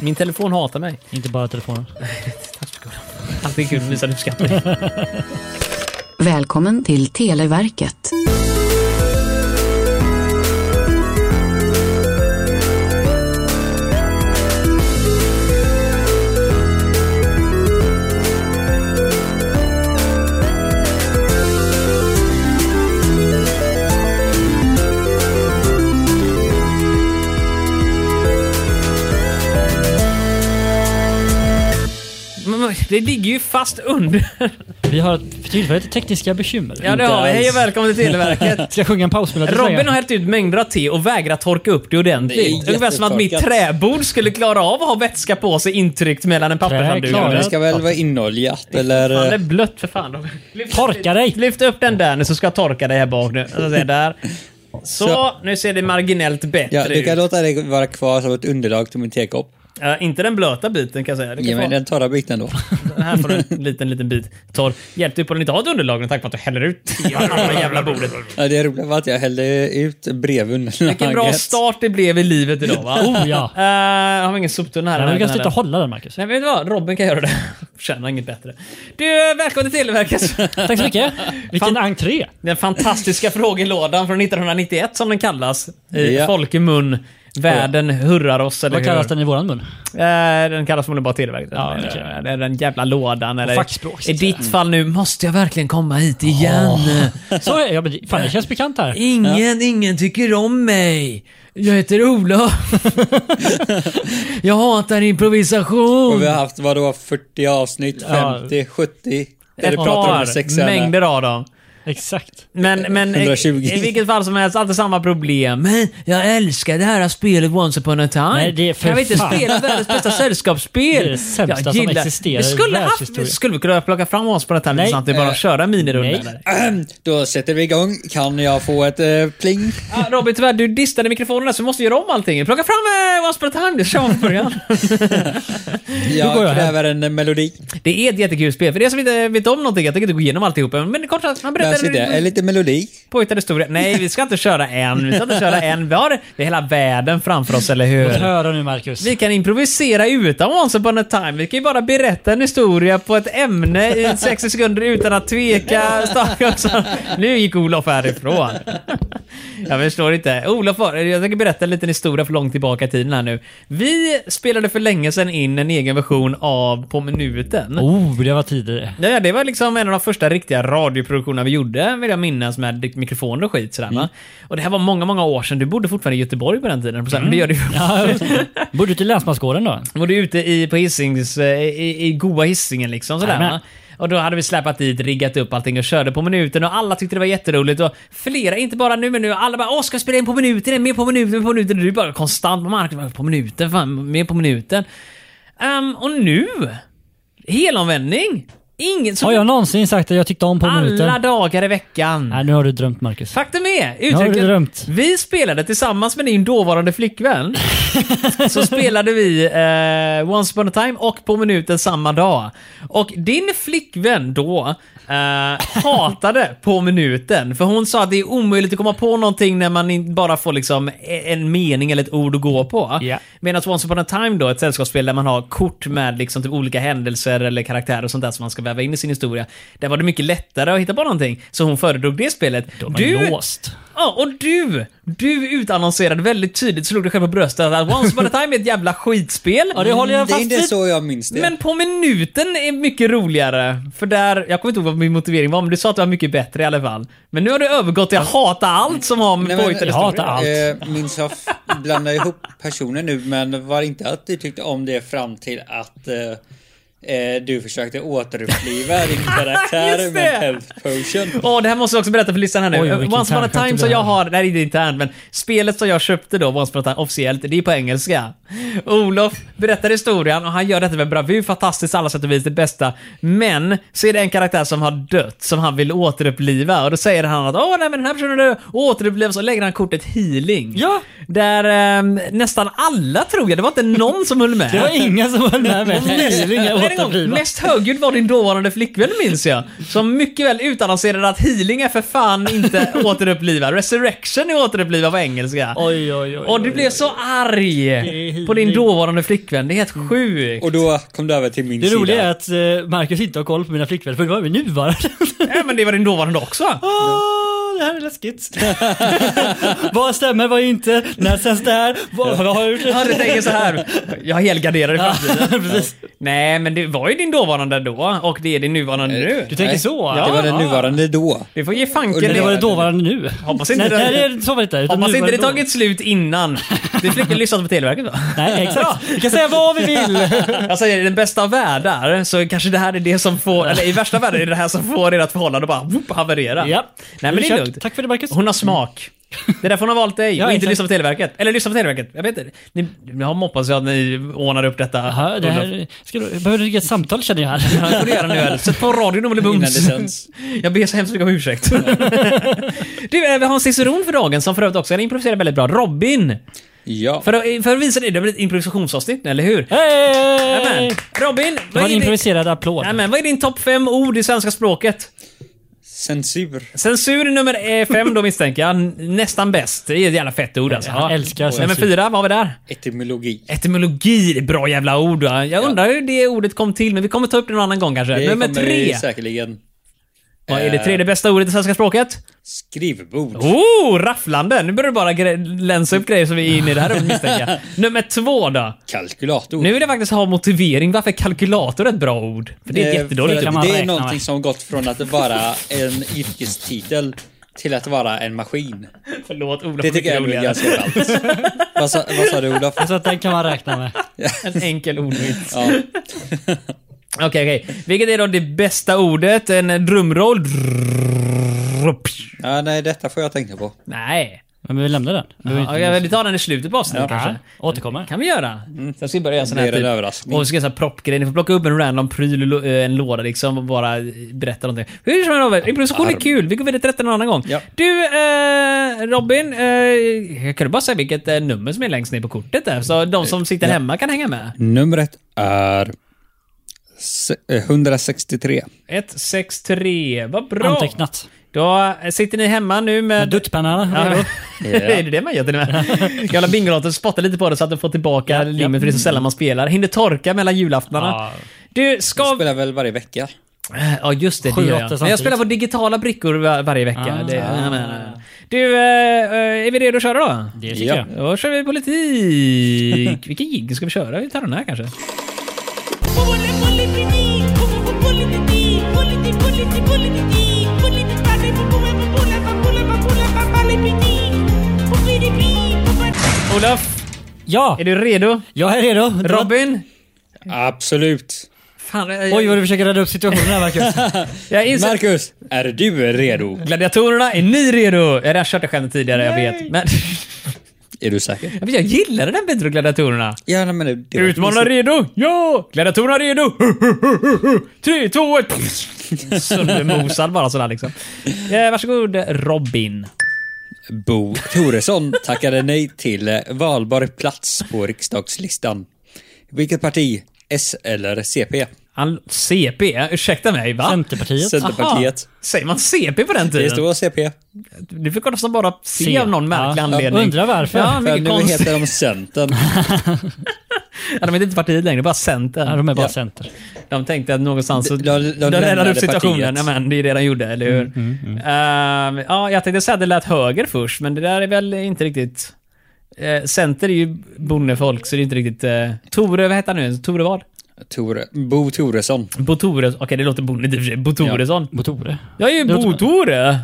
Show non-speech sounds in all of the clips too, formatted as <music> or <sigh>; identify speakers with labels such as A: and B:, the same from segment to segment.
A: Min telefon hatar mig.
B: Inte
A: <laughs>
B: bara telefonen.
A: Alltid kul att visa en uppskattning.
C: Välkommen till Televerket.
A: <laughs> Men, men, Det ligger ju fast <laughs> under.
B: Vi har för tillfället tekniska bekymmer.
A: Ja, det har vi. Hej och välkommen till <laughs> Televerket.
B: Ska jag sjunga en pausmelodi?
A: Robin har hällt ut mängder av te och vägrar torka upp det
D: Det är
A: ordentligt. Ungefär som att mitt
D: jättetorkat.
A: träbord skulle klara av att ha vätska på sig intryckt mellan en pappershandduk.
B: Träklar.
D: Det ska väl vara inoljat
A: Fan, det är
D: eller... eh,
A: blött för fan. Robin. Lyft-
B: Torka dig!
A: Lyft upp den där nu så ska jag torka dig här bak nu. Så, där, där. Så,
D: <laughs> Så.
A: nu ser det marginellt bättre
D: Ja, du
A: ut.
D: kan låta det vara kvar som ett underlag till min tekopp.
A: Ja, inte den blöta biten kan jag säga. Du kan
D: Ge mig
A: få, den.
D: den torra biten då.
A: här får du
B: <laughs>
A: en liten, liten bit torr. Hjälp dig på den inte har ett underlag med tanke på att du häller ut
B: <laughs>
A: te över alla jävla bordet.
D: Ja, det roliga var att jag hällde ut brevun.
A: Vilken bra start det blev i livet idag va?
B: Oh ja.
A: Eh, har vi ingen soptunna här?
B: Nej, men du
A: Den
B: kan
A: här-
B: sluta hålla den Marcus.
A: Nej, men vet du vad? Robin kan göra det. <laughs> Förtjänar inget bättre. Du, välkommen till
B: <laughs>
A: Televerket.
B: Tack
A: <laughs>
B: så mycket. Vilken entré.
A: Den fantastiska frågelådan från 1991 som den kallas. I
D: Ja.
A: folkemun. Världen hurrar oss, eller
B: Vad kallas
A: hur?
B: den i våran mun?
A: Eh, den kallas väl bara Televerket?
B: Ja,
A: eller,
B: okej.
A: eller den jävla lådan. Eller,
B: fackspråk, så
A: I
B: att säga.
A: ditt fall nu, måste jag verkligen komma hit igen?
B: Så är jag. men Fan, det känns bekant här.
A: Ingen, ingen tycker om mig. Jag heter
B: <laughs>
A: Ola. jag hatar
D: Och
A: improvisation.
D: vi har haft vadå 40 avsnitt,
B: Ja.
D: 50, 70. Där
A: Ett
D: du pratar om sex
A: par, mängder av dem.
B: Exakt.
A: Men, men i-
D: 120.
A: i vilket fall som helst, alltid samma problem. Men jag älskar det här spelet Once upon a time.
B: Nej, det är för
A: kan vi inte
B: fan.
A: spela världens
B: <laughs>
A: bästa sällskapsspel?
B: Det är det sämsta
A: Jag
B: som existerar
A: vi
B: i
A: skulle, haft,
B: världshistorien.
A: skulle vi kunna plocka fram Once upon a time?
B: Nej. eh,
A: Nej. Det är bara att köra minirundan.
B: Nej.
A: där.
D: Ahem, Då sätter vi igång. Kan jag få ett eh, pling?
A: Ah, Robin, tyvärr, du distade mikrofonerna så vi måste göra om allting. Plocka fram eh, Once upon a time, det kör vi från början.
D: Jag
B: går jag hem.
D: kräver en eh, melodi.
A: det är ett jättekul spel. För det som inte vet om någonting, jag tänker inte gå igenom alltihop. Men kort sagt, man
D: Där
A: berättar
D: sitter jag. En liten melodi.
A: påhittad historia. Nej, vi ska inte köra en. Vi ska inte köra en. Vi har, vi har hela världen framför oss, eller
B: Låt
A: hur?
B: höra nu Marcus.
A: Vi kan improvisera utan Once upon a time. Vi kan ju bara berätta en historia på ett ämne i 60 sekunder utan att tveka. Staka och så. Nu gick Olof härifrån. Jag förstår inte. Olof, var- jag tänker berätta en liten historia för långt tillbaka i tiden här nu. Vi spelade för länge sedan in en egen version av På minuten.
B: Oh, det var tidigare.
A: Ja, ja, det var liksom en av de första riktiga radioproduktionerna vi gjorde, vill jag minnas, med mikrofoner och skit sådär
B: Mm.
A: va? Och det här var många, många år sedan. Du bodde fortfarande i Göteborg på den tiden. Mm. Men det gör du ju. <laughs>
B: Ja, just det. Bor du till Länsmansgården då?
A: Och du är ute i, på Hisings, eh, i, i goa Hisingen liksom sådär
B: Jajamän.
A: va? Och då hade vi släpat dit, riggat upp allting och körde på minuten och alla tyckte det var jätteroligt och flera, inte bara nu men nu, alla bara “Åh, ska vi spela in på minuten? Är Mer på minuten, mer på minuten?” och Du bara konstant på marken, “På minuten, fan, mer på minuten”. Ehm, och nu? Helomvändning! Ingen, så
B: Har jag någonsin sagt att jag tyckte om på minuten?
A: alla dagar i veckan.
B: Nej, nu har du drömt Marcus.
A: Faktum är,
B: har
A: uttrycket,
B: drömt.
A: vi spelade tillsammans med din dåvarande
B: <laughs>
A: flickvän. så spelade vi eh, Once upon a time och På minuten samma dag. Och din flickvän då eh,
B: <laughs>
A: hatade På minuten. För hon sa att det är omöjligt att komma på någonting när man in- bara får liksom e- en mening eller ett ord att gå på.
B: Ja.
A: Medan Once upon a time då, ett sällskapsspel där man har kort med liksom typ olika händelser eller karaktärer och sånt där som man ska väva in i sin historia. Där var det mycket lättare att hitta på någonting. Så hon föredrog det spelet.
B: De är
A: Du,
B: låst.
A: ja, och du, du utannonserade väldigt tydligt, slog dig själv på bröstet att Once upon a time är ett jävla skitspel.
B: Ja, det håller jag
D: Det är
B: fast
D: inte
B: vid.
D: så jag minns det.
A: Men på minuten är mycket roligare. För där, jag kommer inte ihåg vad min motivering var, men du sa att det var mycket bättre i alla fall. Men nu har du övergått till att hata allt som har med
D: Nej, men-
A: pojkar
B: jag hatar allt.
D: Eh, min soff blandar ihop personer nu men var inte att du tyckte om det fram till att eh, eh, du försökte återuppliva din karaktär
A: Just
D: med
A: det!
D: health potion.
A: Åh, det här måste jag också berätta för lyssnarna här
B: Oj,
A: nu.
B: vilken
A: Once upon a
B: internt skämt
A: time
B: det
A: som
B: där.
A: jag har, det här är inte internt, men spelet som jag köpte då, Once upon a time, officiellt, det är på engelska. Olof berättar historien och han gör detta med bravur, fantastiskt, alla sätt och vis, det bästa. Men, så är det en karaktär som har dött, som han vill återuppliva. Och då säger han att åh nej men den här personen dör, och återupplivas och lägger han kortet healing.
B: Ja.
A: Där ehm, nästan alla tror jag, det var inte någon som höll med.
B: Det var ingen som höll med mig. Healing är
A: en gång,
B: återuppliva.
A: mest högljudd var din dåvarande flickvän minns jag. Som mycket väl utannonserade att healing är för fan
B: <laughs>
A: inte återuppliva. Resurrection är återuppliva på engelska.
B: Oj, oj, oj.
A: Och du
B: oj,
A: blev
B: oj.
A: så arg
B: är
A: på din
B: healing. Mm.
A: dåvarande flickvän. Det är helt sjukt.
D: Och då kom du över till min
B: Det
D: sida.
B: roliga är att eh, Marcus inte har koll på mina flickvänner för det var
A: <laughs>
B: min nuvarande.
A: Nej men det var din dåvarande också.
B: Åh, det här är läskigt. <laughs> vad stämmer, vad inte? När känns det här? Vad, vad har
A: Ja,
B: jag gjort?
A: du tänker så här. Jag helgarderar i
B: Ja,
A: framtiden.
B: <laughs> precis.
A: Nej, men det var ju din dåvarande då och det är din nuvarande nu.
B: Du tänker
D: Nej,
B: så?
D: Det var den nuvarande då.
A: Vi får ge fanken
B: Men det var det
A: det.
B: dåvarande nu.
A: Hoppas inte
B: nej,
A: det-
B: nej, det är- så var det inte. utan
A: Hoppas inte
B: nuvarande
A: det
B: då.
A: tagit slut innan. Du fick väl lyssna på Televerket då?
B: Nej, exakt. Vi kan säga vad vi vill.
A: <laughs> Jag säger i den bästa av världar så kanske det här är det som får, eller i värsta världar är det här som får ert förhållande att bara whoop, haverera.
B: ja.
A: Nej men det är
B: Kört.
A: lugnt.
B: Tack för det Marcus.
A: Hon har smak. Det är därför hon har valt dig
B: Ja,
A: och inte
B: exakt.
A: lyssnat på Televerket. Eller lyssnat på Televerket. Jag vet inte. Ni, jag hoppas att ni ordnar upp detta.
B: Jaha, det
A: Olof.
B: här, ska du, behöver du ringa ett samtal känner jag här.
A: <laughs> Ja, det får du göra nu. Ed. Sätt på radion om det
D: Innan det
A: bums.
D: sänds.
A: Jag ber så hemskt mycket om
B: <laughs>
A: ursäkt. du, eh, vi har en ciceron för dagen som för övrigt också kan improvisera väldigt bra. Robin!
D: Ja.
A: För att, eh, för att visa dig, det blir ett improvisationsavsnitt, eller hur?
B: <laughs> Hej!
A: Nämen, Robin,
B: Det
A: vad
B: var
A: är,
B: en
A: din,
B: improviserad applåd.
A: nämen, vad är din topp fem ord i svenska språket?
D: Censur.
A: Censur nummer eh, fem då misstänker jag. N- Nästan bäst. Det är ett jävla fett ord alltså.
B: Jag älskar
A: Nummer
B: censur.
A: fyra, vad har vi där?
D: Etymologi.
A: Etymologi, det är bra jävla ord. Va? Jag undrar hur det ordet kom till, men vi kommer ta upp det någon annan gång kanske.
D: Det
A: nummer
D: kommer vi
A: tre.
D: Säkerligen.
A: Vad är det tredje bästa ordet i svenska språket?
D: Skrivbord.
A: Oh, rafflande! Nu börjar du bara gre- länsa upp grejer som vi är inne i det här rummet misstänker
D: <laughs>
A: jag. Nummer två då.
D: Kalkylator.
A: Nu vill jag faktiskt ha motivering. Varför är kalkylator ett bra ord? För det är ett
D: Eh,
A: jättedåligt
D: för
A: ord.
B: kan man
D: Det är
B: räkna
D: någonting
B: med.
D: som gått från att vara en yrkestitel till att vara en maskin.
A: <laughs> Förlåt Olof,
D: Det tycker jag
A: mycket
D: är
A: roligare.
D: ganska ballt. vad, sa, vad sa du Olof?
B: Så att den kan man räkna med.
A: <laughs> En enkel ordvits.
D: Ja.
A: <laughs> Okej, okej. Vilket är då det bästa ordet? En drumroll?
D: ja, nej detta får jag tänka på.
A: Nej.
B: Men vi lämnar den. Vi behöver
A: Ja,
B: inte-
A: ja, vi tar den i slutet på avsnittet kanske.
B: Ja, återkommer.
A: kan vi göra. Sen ska vi börja göra en sån här
D: blir en
A: typ.
D: överraskning.
A: Och vi ska göra en proppgrej. Ni får plocka upp en random pryl, ur lo- eh, en låda liksom och bara eh, berätta någonting. Hur som helst Robert, improvisation är kul. Vi går vidare till rätten en annan gång.
D: Ja.
A: Du eh, Robin, eh, jag kunde bara säga vilket eh, nummer som är längst ner på kortet där. Så de som sitter hemma kan hänga med.
D: Numret är se- eh, 163.
A: 163, vad bra.
B: Antecknat.
A: Då eh, sitter ni hemma nu
B: Med
A: med...
B: duttpennan. <laughs>
A: Ja.
B: redo.
A: är <laughs> det det man gör till och med? Gamla bingolotto spottar lite på det så att de får tillbaka limmen för det är så sällan man spelar. Hinner torka mellan julaftnarna.
B: Ja.
A: Du,
D: Jag
A: ska...
D: spelar väl varje vecka.
A: Ja, just det. det
B: Sju,
A: gör jag.
B: åtta
A: Men jag
B: samtidigt.
A: spelar på digitala brickor var, varje vecka.
B: Ah.
A: Det, nej, nej, nej. Du, eh, eh, är vi redo att köra då?
B: Det tycker
D: Ja.
B: jag.
A: Då kör vi politik.
B: <laughs>
A: Vilken jigg ska vi köra? Vi tar den här kanske. Olof,
B: Ja,
A: är du redo?
B: jag är redo. Det var-
A: Robin?
D: Absolut.
A: Fan,
B: Oj,
A: jag,
B: vad du försöker rädda upp situationen här Marcus.
A: jag inser...
D: Marcus, är du redo?
A: Gladiatorerna, är ni redo? Jag har redan kört det skämtet tidigare, jag vet. Men <laughs>
D: Är du säker?
A: jag vet, jag gillade den bättre, Gladiatorerna.
D: Ja, nej, men det, det var-
A: Utmanare redo? Ja! Gladiatorerna redo? <laughs> Tre, två, ett! <laughs> Söndermosad bara sådär liksom. Eh, varsågod Robin.
D: Bo Toresson tackade nej till eh, valbar plats på riksdagslistan. Vilket parti? S eller CP?
A: Han, CP? eh, Ursäkta mig va?
B: <laughs> Centerpartiet.
D: Centerpartiet.
A: Aha, säger man CP på den
D: Det
A: tiden?
D: står CP.
A: Du förkortas som bara C
B: C.
A: av någon märklig
B: Ja, jag
A: anledning.
B: undrar varför.
A: Ja,
D: För
A: mycket
D: nu
A: konstigt.
D: heter de Centern.
A: Ja, de heter inte partiet längre, bara
B: Ja,
A: Centern.
B: de är bara
D: Ja.
B: center.
A: De tänkte att någonstans så...
D: De- de- de
A: räddade
D: lämnade
A: upp situationen.
D: partiet.
A: Ja, men det är det de gjorde, eller hur?
B: Mm,
A: Ehm, ja, jag tänkte säga att det lät höger först, men det där är väl inte riktigt... Eh, center är ju bondefolk, så det är inte riktigt... Eh, Tore, vad heter han nu? Tore vad?
D: <laughs> Tore, Bo Toresson.
A: Bo Tore... Okej, det låter bondigt i och för sig. Bo Toresson.
B: Motore.
A: Jag är ju
B: Det låter-
A: Bo-Tore!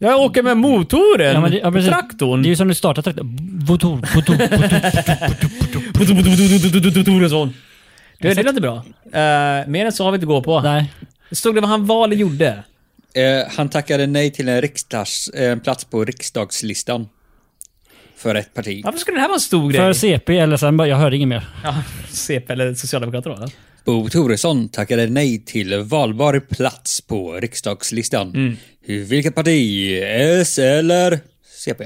A: Jag åker med motoren!
B: Ja, men det- ja, precis.
A: Traktorn!
B: Det är ju som du startar traktorn. Motor, motor, motor.
A: Toresson. Du, det låter bra. Eh, mer än så har vi inte att gå på.
B: Nej.
A: Stod det vad han val gjorde?
D: Eh, han tackade nej till en riksdags, eh, en plats på riksdagslistan. För ett parti.
A: Varför skulle det här vara en stor grej?
B: För CP eller sen bara- jag hörde inget mer.
A: Ja, CP eller Socialdemokraterna då? eller?
D: Bo Toresson tackade nej till valbar plats på riksdagslistan.
A: Mm.
D: Vilket parti? S eller CP?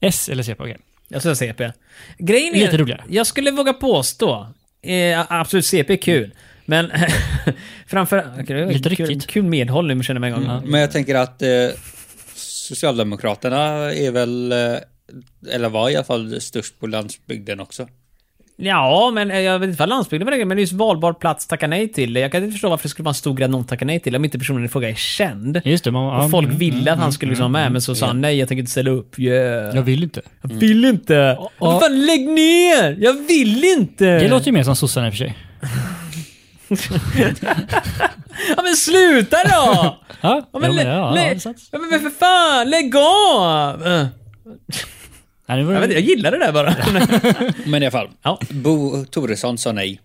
B: S eller CP, okej.
A: Jag skulle säga CP. Grejen är,
B: Lite roligare.
A: Jag skulle våga påstå, eh, absolut CP är kul, Men <laughs> framför... Okay,
B: Lite Mm.
A: kul,
B: ryckigt.
A: kul medhåll nu känner jag mig en gång.
D: Men jag tänker att eh, Socialdemokraterna är väl, eh, eller var i alla fall störst på landsbygden också.
A: Ja, men eh, jag vet inte vad landsbygden var det, men det är ju valbar plats tacka nej till. Jag kan inte förstå varför det skulle vara en stor grej att någon tackar nej till om inte personen i fråga är känd.
B: Just det, man, ja,
A: Och folk
B: mm,
A: ville att
B: mm,
A: han skulle liksom vara med, men så sa han nej, jag tänker inte ställa upp. Yeah.
B: Jag vill inte.
A: Jag vill inte! Vad fan, lägg ner! Jag vill inte!
B: Det låter ju mer som sossarna i och för sig.
A: Ja men sluta
B: <laughs>
A: då!
B: Ja,
A: Ja, men,
B: jo,
A: lä-
B: ja,
A: lä-
B: ja, sant.
A: ja, men för fan, lägg av! Eh.
B: Nej, det var,
A: Jag, vet, inte, jag gillar det där bara.
D: Men i alla fall,
A: <laughs> Ja.
D: Bo Toresson sa nej.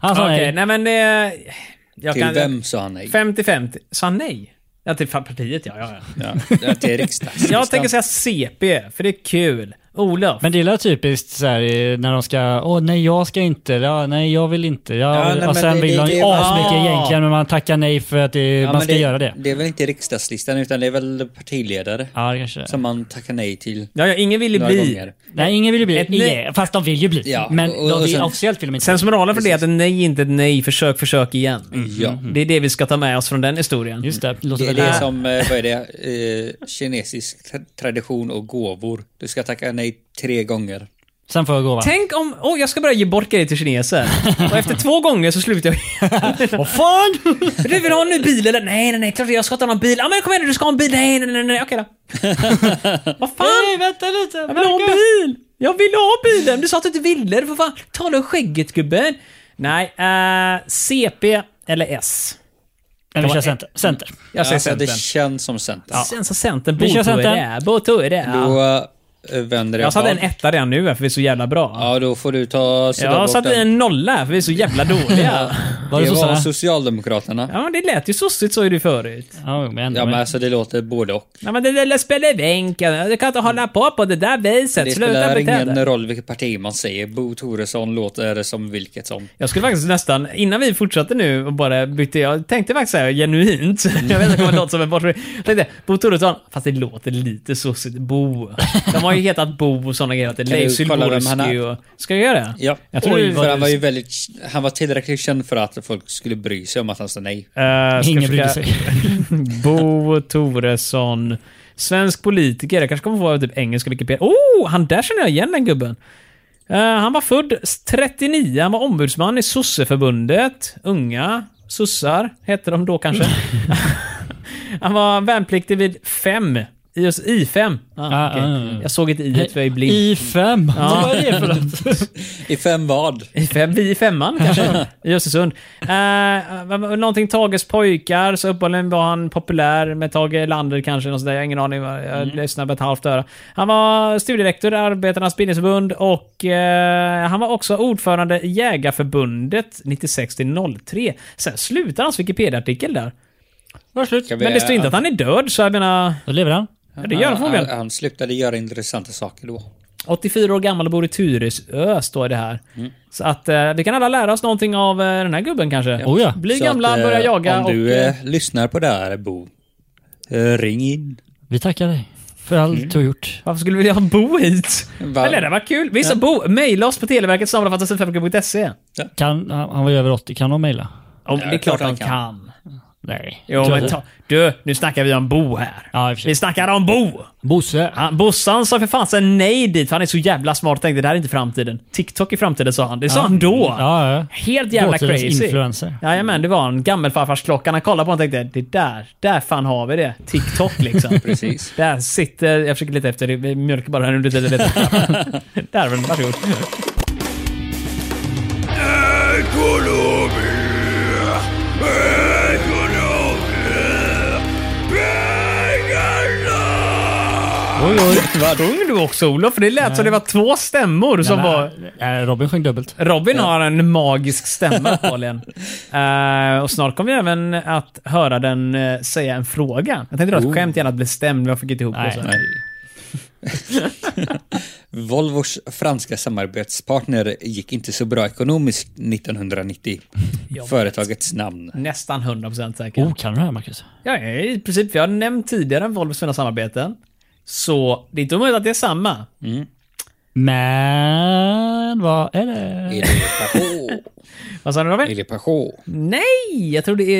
B: Han sa
A: Okej,
B: nej.
A: nej men... eh, jag
D: Till
A: kan-
D: vem sa han nej?
A: 50-50. Sa han nej? Ja, till fa- partiet ja. ja, ja.
D: Ja, till riksdagslistan.
A: Jag tänker säga CP, för det är kul. Olof.
B: Men det är väl typiskt så här, eh, när de ska, åh nej jag ska inte, ja, nej jag vill inte. Ja,
D: Ja, nej,
B: och
D: men
B: sen
D: det-
B: vill
D: det-
B: de ju
D: det-
B: asmycket
A: Ja.
B: egentligen men man tackar nej för att det,
D: Ja,
B: man
D: men
B: ska göra det.
D: Det är väl inte riksdagslistan utan det är väl partiledare
B: Ja, det kanske det är.
D: som man tackar nej till
A: Ja, ja, ingen ville
D: några
A: bli.
D: gånger.
B: Nej, ingen vill ju bli
A: Ett nej-
B: nej. fast de vill ju bli.
D: Ja,
B: men
D: och-
B: de
D: och
B: vill,
D: sen-
B: officiellt vill de inte.
A: Sen som moralen för det är att ett nej inte är ett nej, försök, försök igen.
D: Mm-hmm. Ja.
A: Det är det vi ska ta med oss från den historien.
B: Just det, låter
D: Det är
B: väl
D: det som, eh, vad är det, eh, kinesisk tra- tradition och gåvor. Du ska tacka nej tre gånger.
B: Sen får jag gåva.
A: Tänk om, åh jag ska börja ge bort grejer till kineser.
B: <laughs>
A: Och efter två gånger så slutar jag.
B: Vad fan!
A: Du vill ha en ny bil eller? Nej, nej, nej, klart jag ska inte ha någon bil. Ja men kom igen nu, du ska ha en bil. Nej, nej, nej, nej, okej då. Vad fan?
B: Nej, vänta lite.
A: Jag vill ha en bil! Jag vill ha bilen! Du sa att du inte ville det, för fan. Tala om skägget gubben. Nej, eh, CP eller S?
B: Nej, vi kör center. center.
A: Jag säger
D: Alltså, det
A: Centern.
D: känns som Centern.
A: Sen så Centern,
B: Vi kör
A: Boto är
B: Centern.
A: det. Boto är det.
D: Då
A: Ja.
D: eh, vänder jag
A: Jag satte en
D: blad.
A: etta redan nu här, för vi är så jävla bra.
D: Ja, då får du ta sudda
A: Jag
D: bort
A: satte
D: den.
A: en nolla här, för vi är så jävla
D: <laughs>
A: dåliga.
B: Var det
D: Det var
B: sossarna?
D: Socialdemokraterna.
A: Ja, men det lät ju sossigt sa ju du förut.
B: Ja, jo, men ändå.
D: Ja, men
B: men...
D: alltså det låter både och.
A: Nej men det där spelar vinkeln. Du kan inte hålla på på det där viset.
D: Det
A: Sluta
D: spelar
A: bete
D: ingen
A: dig.
D: roll vilket parti man säger. Bo Toresson låter som vilket som.
A: Jag skulle faktiskt nästan, innan vi fortsatte nu och bara bytte, jag tänkte faktiskt säga genuint, <laughs> jag vet inte om det låter som en bortre, jag tänkte Bo Toresson, fast det låter lite sossigt, Bo. De har ju hetat Bo och sådana grejer, att det är
D: Kan
A: Leif
D: du kolla vem han är?
A: Sylborski och... Ska jag göra det?
D: Ja,
A: Jag tror
D: Oj,
A: det var
D: för han
A: du-
D: var ju väldigt... Han var tillräckligt känd för att folk skulle bry sig om att han sa nej.
A: Eh, ska
B: Ingen
A: jag
B: brydde
A: försöka- <laughs>
B: sig.
A: Bo Toresson, svensk politiker, jag kanske kommer få vara typ engelska Wikipedia. Oh, han där känner jag igen den gubben. Eh, han var född 39, han var ombudsman i sosseförbundet. Unga sossar hette de då kanske. han var värnpliktig vid fem. I oss I5. Ah,
B: Ah,
A: okej.
B: ah, ah.
A: Jag såg ett I för jag är blind.
B: I fem?
A: Ja.
B: <laughs> Vad är det för något?
D: I fem vad?
A: I fem, vi i femman kanske, i Östersund. Uh, någonting Tages pojkar, så uppenbarligen var han populär med Tage Erlander kanske, något sånt där. jag har ingen aning, vad- jag lyssnade på ett halvt öra. Han var studierektor i Arbetarnas bildningsförbund och eh, han var också ordförande i Jägarförbundet 96 till 03. Sen slutar hans Wikipedia-artikel där.
B: Var slut.
D: Kan vi-
A: Men det står inte att han är död, så jag menar,
B: Då lever han.
A: ja, det gör han
D: han,
A: förmodligen.
D: han slutade göra intressanta saker då.
A: 84 år gammal och bor i Tyresö, står det här. Så att eh, vi kan alla lära oss någonting av eh, den här gubben kanske.
B: Oh ja.
A: Bli
D: Så
A: gamla,
D: att, eh,
A: börja jaga
D: Om du
A: och... eh,
D: eh, lyssnar på det här, Bo. eh, Ring in.
B: Vi tackar dig för allt du har gjort.
A: Varför skulle vi vilja ha Bo hit?
D: Va?
A: Eller det var kul. Vissa Bo, mejla oss på Televerket snabelafantasin5.se.
B: Kan, han han var ju över 80, kan de mejla?
A: Om det är klart han
D: han
A: kan.
D: kan.
B: Nej.
A: Jo,
B: Tror
A: men
B: jag.
A: ta, du, nu snackar vi om Bo här.
B: Ja, i och för sig.
A: Vi snackar om Bo!
B: Bosse.
A: Han, Bossan sa för fan sen nej dit, för han är så jävla smart. Tänkte det här är inte framtiden. TikTok är framtiden sa han. Det sa han då.
B: Ja, ja.
A: Helt jävla
B: Dåtidens
A: crazy.
B: influencer.
A: Jajamän, det var en gammelfarfarsklocka. Han kollade på honom och tänkte det där, där fan har vi det. TikTok liksom.
D: Precis.
A: där sitter, jag försöker leta efter det, vi mjölkar bara här nu lite. lite. där har vi den, varsågod. Oj, oj. Vad ung du också Olof, för det lät som det var två stämmor som var...
B: Nej, Robin sjöng dubbelt.
A: Robin har en magisk stämma
B: <laughs>
A: uppenbarligen. Eh, och snart kommer vi även att höra den eh, säga en fråga. Jag tänkte dra ett skämt igen att bli stämd, men jag fick inte ihop det.
B: Oh. Nej.
A: Så.
B: nej.
D: Volvos franska samarbetspartner gick inte så bra ekonomiskt
A: <laughs>
D: 1990. Företagets namn.
A: Nästan 100% säker.
B: Oh, kan du det här Marcus?
A: Jag är i princip, för jag har nämnt tidigare en Volvo sina samarbeten. Så det är inte omöjligt att det är samma.
B: Men vad är det?
D: Är det- Åh.
A: Vad sa du Robin?
D: Eller Peugeot.
A: Nej, jag tror det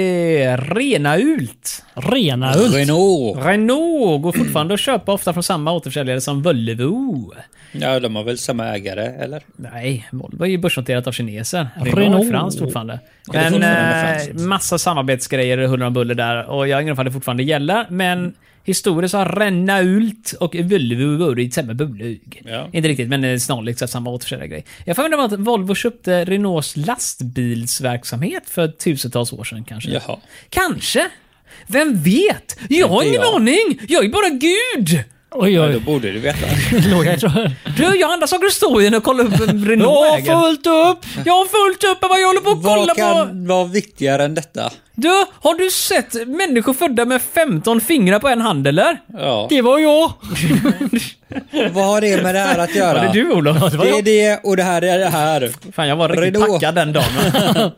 A: är Renault.
B: Rena Ulf.
D: Renault.
A: Renault går fortfarande att köpa ofta från samma återförsäljare som Volvo.
D: Ja, de har väl samma ägare, eller?
A: Nej, Volvo är ju börsnoterat av kineser. Renault
B: Renault.
A: är franskt fortfarande.
D: det är
A: Men
D: fortfarande
A: eh,
D: franskt.
A: massa samarbetsgrejer huller om buller där och jag har ingen aning om det fortfarande gäller. Men historiskt har Renault och Volvo varit samma bolag.
D: Ja.
A: Inte riktigt, men eh, snarlikt så att samma återförsäljargrej. Jag får undra om att Volvo köpte Renaults lastbilsverksamhet för tusentals år sedan kanske.
D: Jaha.
A: Kanske. Vem vet? Jag har
D: Inte
A: ingen
D: jag.
A: aning! Jag är bara gud!
B: Oj,
D: Ja, då
B: oj.
D: borde du veta.
B: <laughs> Låg jag tror.
A: Du, jag har andra saker att stå i än att kolla upp
D: <laughs>
A: en Renault äger.
B: fullt upp!
A: Jag har fullt upp med vad jag håller på att kolla på.
D: Vad kan vara viktigare än detta?
A: Du, har du sett människor födda med 15 fingrar på en hand eller?
D: Ja.
B: Det var jag!
D: Vad har det med det här att
A: Var det
D: göra?
A: du Alltså, Olof?
D: Det är det och det här är det här. Alltså,
A: Fan, jag var riktigt
D: Renault.
A: packad den
D: <laughs>
A: dagen.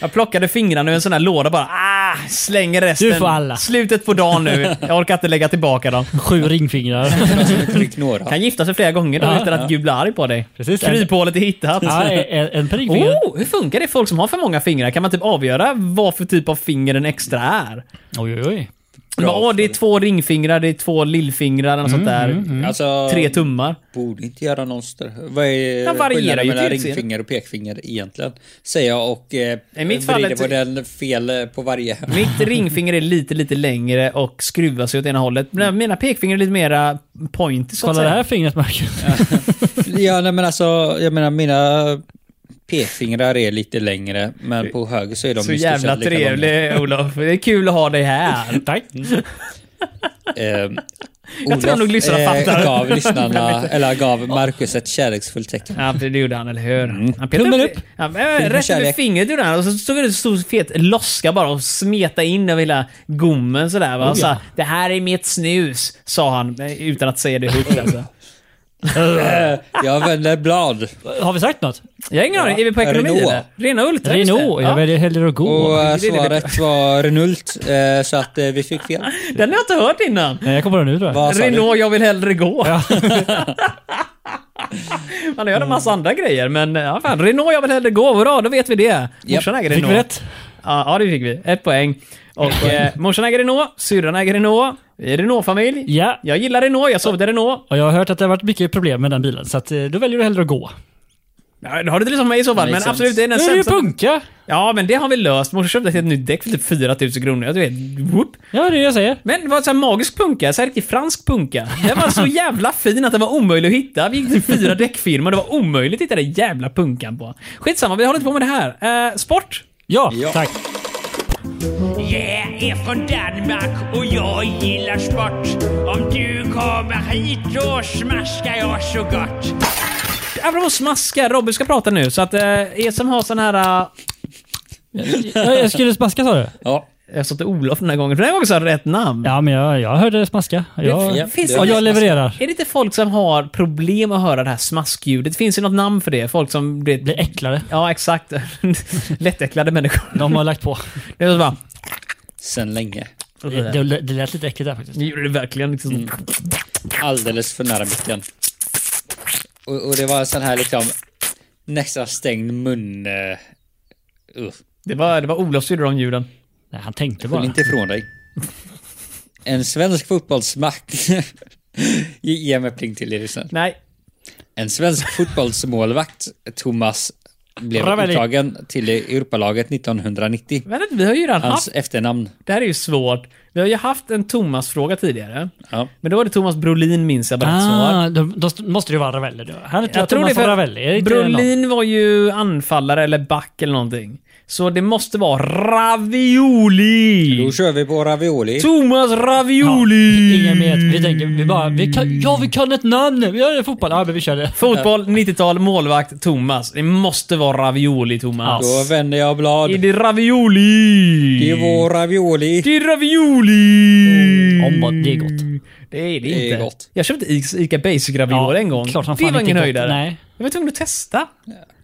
A: jag plockade fingrarna ur en sån här låda bara. Ah, slänger resten.
B: Du får alla.
A: Slutet på dagen nu. Jag orkar inte lägga tillbaka dem.
B: Sju ringfingrar.
D: Tryck några.
A: Kan gifta sig flera gånger då utan att Gud blir arg på dig.
B: Precis.
A: Kryphålet är hittat.
B: <laughs> ja, en, en prickfinger.
A: Oh, hur funkar det folk som har för många fingrar? Kan man typ avgöra vad för typ av finger den extra är?
B: Oj, oj, oj.
A: Bara,
D: Bra
A: Åh, det är
D: fråga.
A: två ringfingrar, det är två lillfingrar och
B: Mm,
A: sånt där.
D: Alltså,
A: mm. Tre tummar.
D: borde inte göra någon större... Vad är
A: Den varierar
D: skillnaden
A: ju
D: mellan
A: till utseendet.
D: ringfinger och pekfinger egentligen? Säger jag och eh,
A: I mitt fall
D: vrider
A: är
D: på
A: det-
D: den fel eh, på varje.
A: Mitt ringfinger är lite, lite längre och skruvar sig åt ena hållet. Men Mina pekfingrar är lite mera point, så att
B: Mm. Kolla det
A: säga.
B: här fingret <laughs> Marcus.
D: <laughs> Ja, nej, men alltså, jag menar mina pekfingrar är lite längre, men på höger så är de
A: Så
D: i stort sett
A: jävla
D: lika långa.
A: trevlig Olof. Det är kul att ha dig här.
B: Tack.
D: Eh,
A: Jag tror
D: Olof, eh,
A: nog lyssnarna fattar.
D: gav
A: <laughs>
D: lyssnarna, eller gav Marcus ett kärleksfullt tecken.
A: Ja, det gjorde han, eller hur? Han
B: Tummen upp.
A: Ja, men, rätt med
D: Mm. kärlek.
A: fingret gjorde han. Och så stod det en stor fet loska bara och smeta in över hela gommen sådär.
B: Oh,
A: Va? Och så, det här är mitt snus, sa han eh, utan att säga
D: <laughs>
A: det högt. Alltså.
D: Eh, jag vänder blad.
B: Har vi sagt något?
A: Jag har ingen aning. Är vi på
D: Ja,
A: ekonomi
D: Renault.
A: eller? Renault. ja, just det.
B: Renault. Jag
A: Ja.
B: väljer hellre att gå.
D: Och eh,
A: Oh, det är det
D: svaret var Renult, eh, så att eh, vi fick fel.
A: Den har jag inte hört innan.
B: Nej, jag kommer på det nu tror jag.
D: Vad sa du?
A: Renault, jag vill hellre gå. <laughs> Man gör en massa andra grejer, men ja, fan, Renault, jag vill hellre gå. Bra, då vet vi det. Morsan äger
B: Fick
A: Renault.
B: vi rätt?
A: Ja, ja, det fick vi. Ett poäng. Och eh, morsan äger Renault, syrran äger Renault. Vi är Renault-familj.
B: Ja.
A: Jag gillar Renault, jag sov i Renault.
B: Och jag har hört att det har varit mycket problem med den bilen, så att, eh, då väljer du hellre att gå.
A: Ja, det har du inte lyssnat på mig i så fall,
D: Makes
A: men
D: sense.
A: absolut, det är den
B: Nu är det ju
A: sämsta...
B: punka!
A: Ja, men det har vi löst. Morsan köpte ett helt nytt däck för typ 4000 kronor. Jag vet, whoop.
B: Ja, det är det jag säger.
A: Men det var så här magisk punka, så här riktigt fransk punka. Den var så jävla fin att den var omöjlig att hitta. Vi gick till fyra däckfirmor, det var omöjligt att hitta den jävla punkan på. Skitsamma, vi håller inte på med det här. Eh, sport?
B: Ja,
D: Ja.
B: tack.
E: Jag är från Danmark och jag gillar sport. Om du kommer hit då smaskar jag så gott.
A: Apropå smaska, Robin ska prata nu, så att eh, er som har sån här... eh,
B: Ja, Jag skulle smaska sa du?
D: Ja.
A: Jag sa till Olof den här gången, för den här gången sa jag rätt namn.
B: Ja, men jag, jag hörde smaska. Jag,
A: Det finns-
B: och jag levererar.
A: Är det inte folk som har problem att höra det här smaskljudet? Finns det något namn för det? Folk som... Det,
B: Blir äcklade.
A: ja, exakt. <laughs> Lättäcklade människor.
B: De har <laughs> lagt på.
A: Det är så bara...
D: Sen länge.
B: Det, det, det lät lite äckligt där faktiskt.
A: Nu gjorde det verkligen liksom...
B: Mm.
D: Alldeles för nära micken. Och, och det var en sån här liksom nästan stängd mun... eh, Uh,
A: Det var, det var Olof som gjorde de ljuden.
B: Nej, han tänkte
D: Skyll
B: bara.
D: inte ifrån dig. En svensk fotbollsmack... <laughs> Ge ge mig pling till er snäll.
A: Nej,
D: En svensk fotbollsmålvakt, Thomas, blev
B: Ravelli.
D: uttagen till Europalaget 1990.
A: Men vi har ju redan
D: Hans
B: Alltså-
A: haft...
D: efternamn.
A: Det här är ju svårt. Vi har ju haft en Thomas-fråga tidigare.
D: Ja.
A: Men då var det Thomas Brolin minns jag bara ett svar.
B: Ah, då, då måste det ju vara Ravelli då. Han heter
A: Jag tror det
B: Thomas
A: är för
B: Ravelli. Är det inte någon?
A: Brolin var ju anfallare eller back eller någonting. Så det måste vara Ravioli!
D: Då kör vi på ravioli.
A: Thomas Ravioli!
B: Ingen vet. Vi tänker, vi bara, vi kan, ja vi kan ett namn! Vi har fotboll. Ja, men vi kör det.
A: Fotboll, 90-tal, målvakt, Thomas. Det måste vara Ravioli, Thomas.
D: Då vänder jag blad.
A: Är det Ravioli?
D: Det är vår ravioli.
A: Det är ravioli!
B: Om vad- det är gott.
A: Det är det
D: är
A: inte.
D: gott.
A: Jag köpte Ica- Ica Basic ravioli
B: Ja,
A: en gång.
B: klart som
A: det
B: fan
A: var
B: inte
A: ingen
B: gott.
A: höjdare.
B: Nej.
A: Jag var tvungen att testa.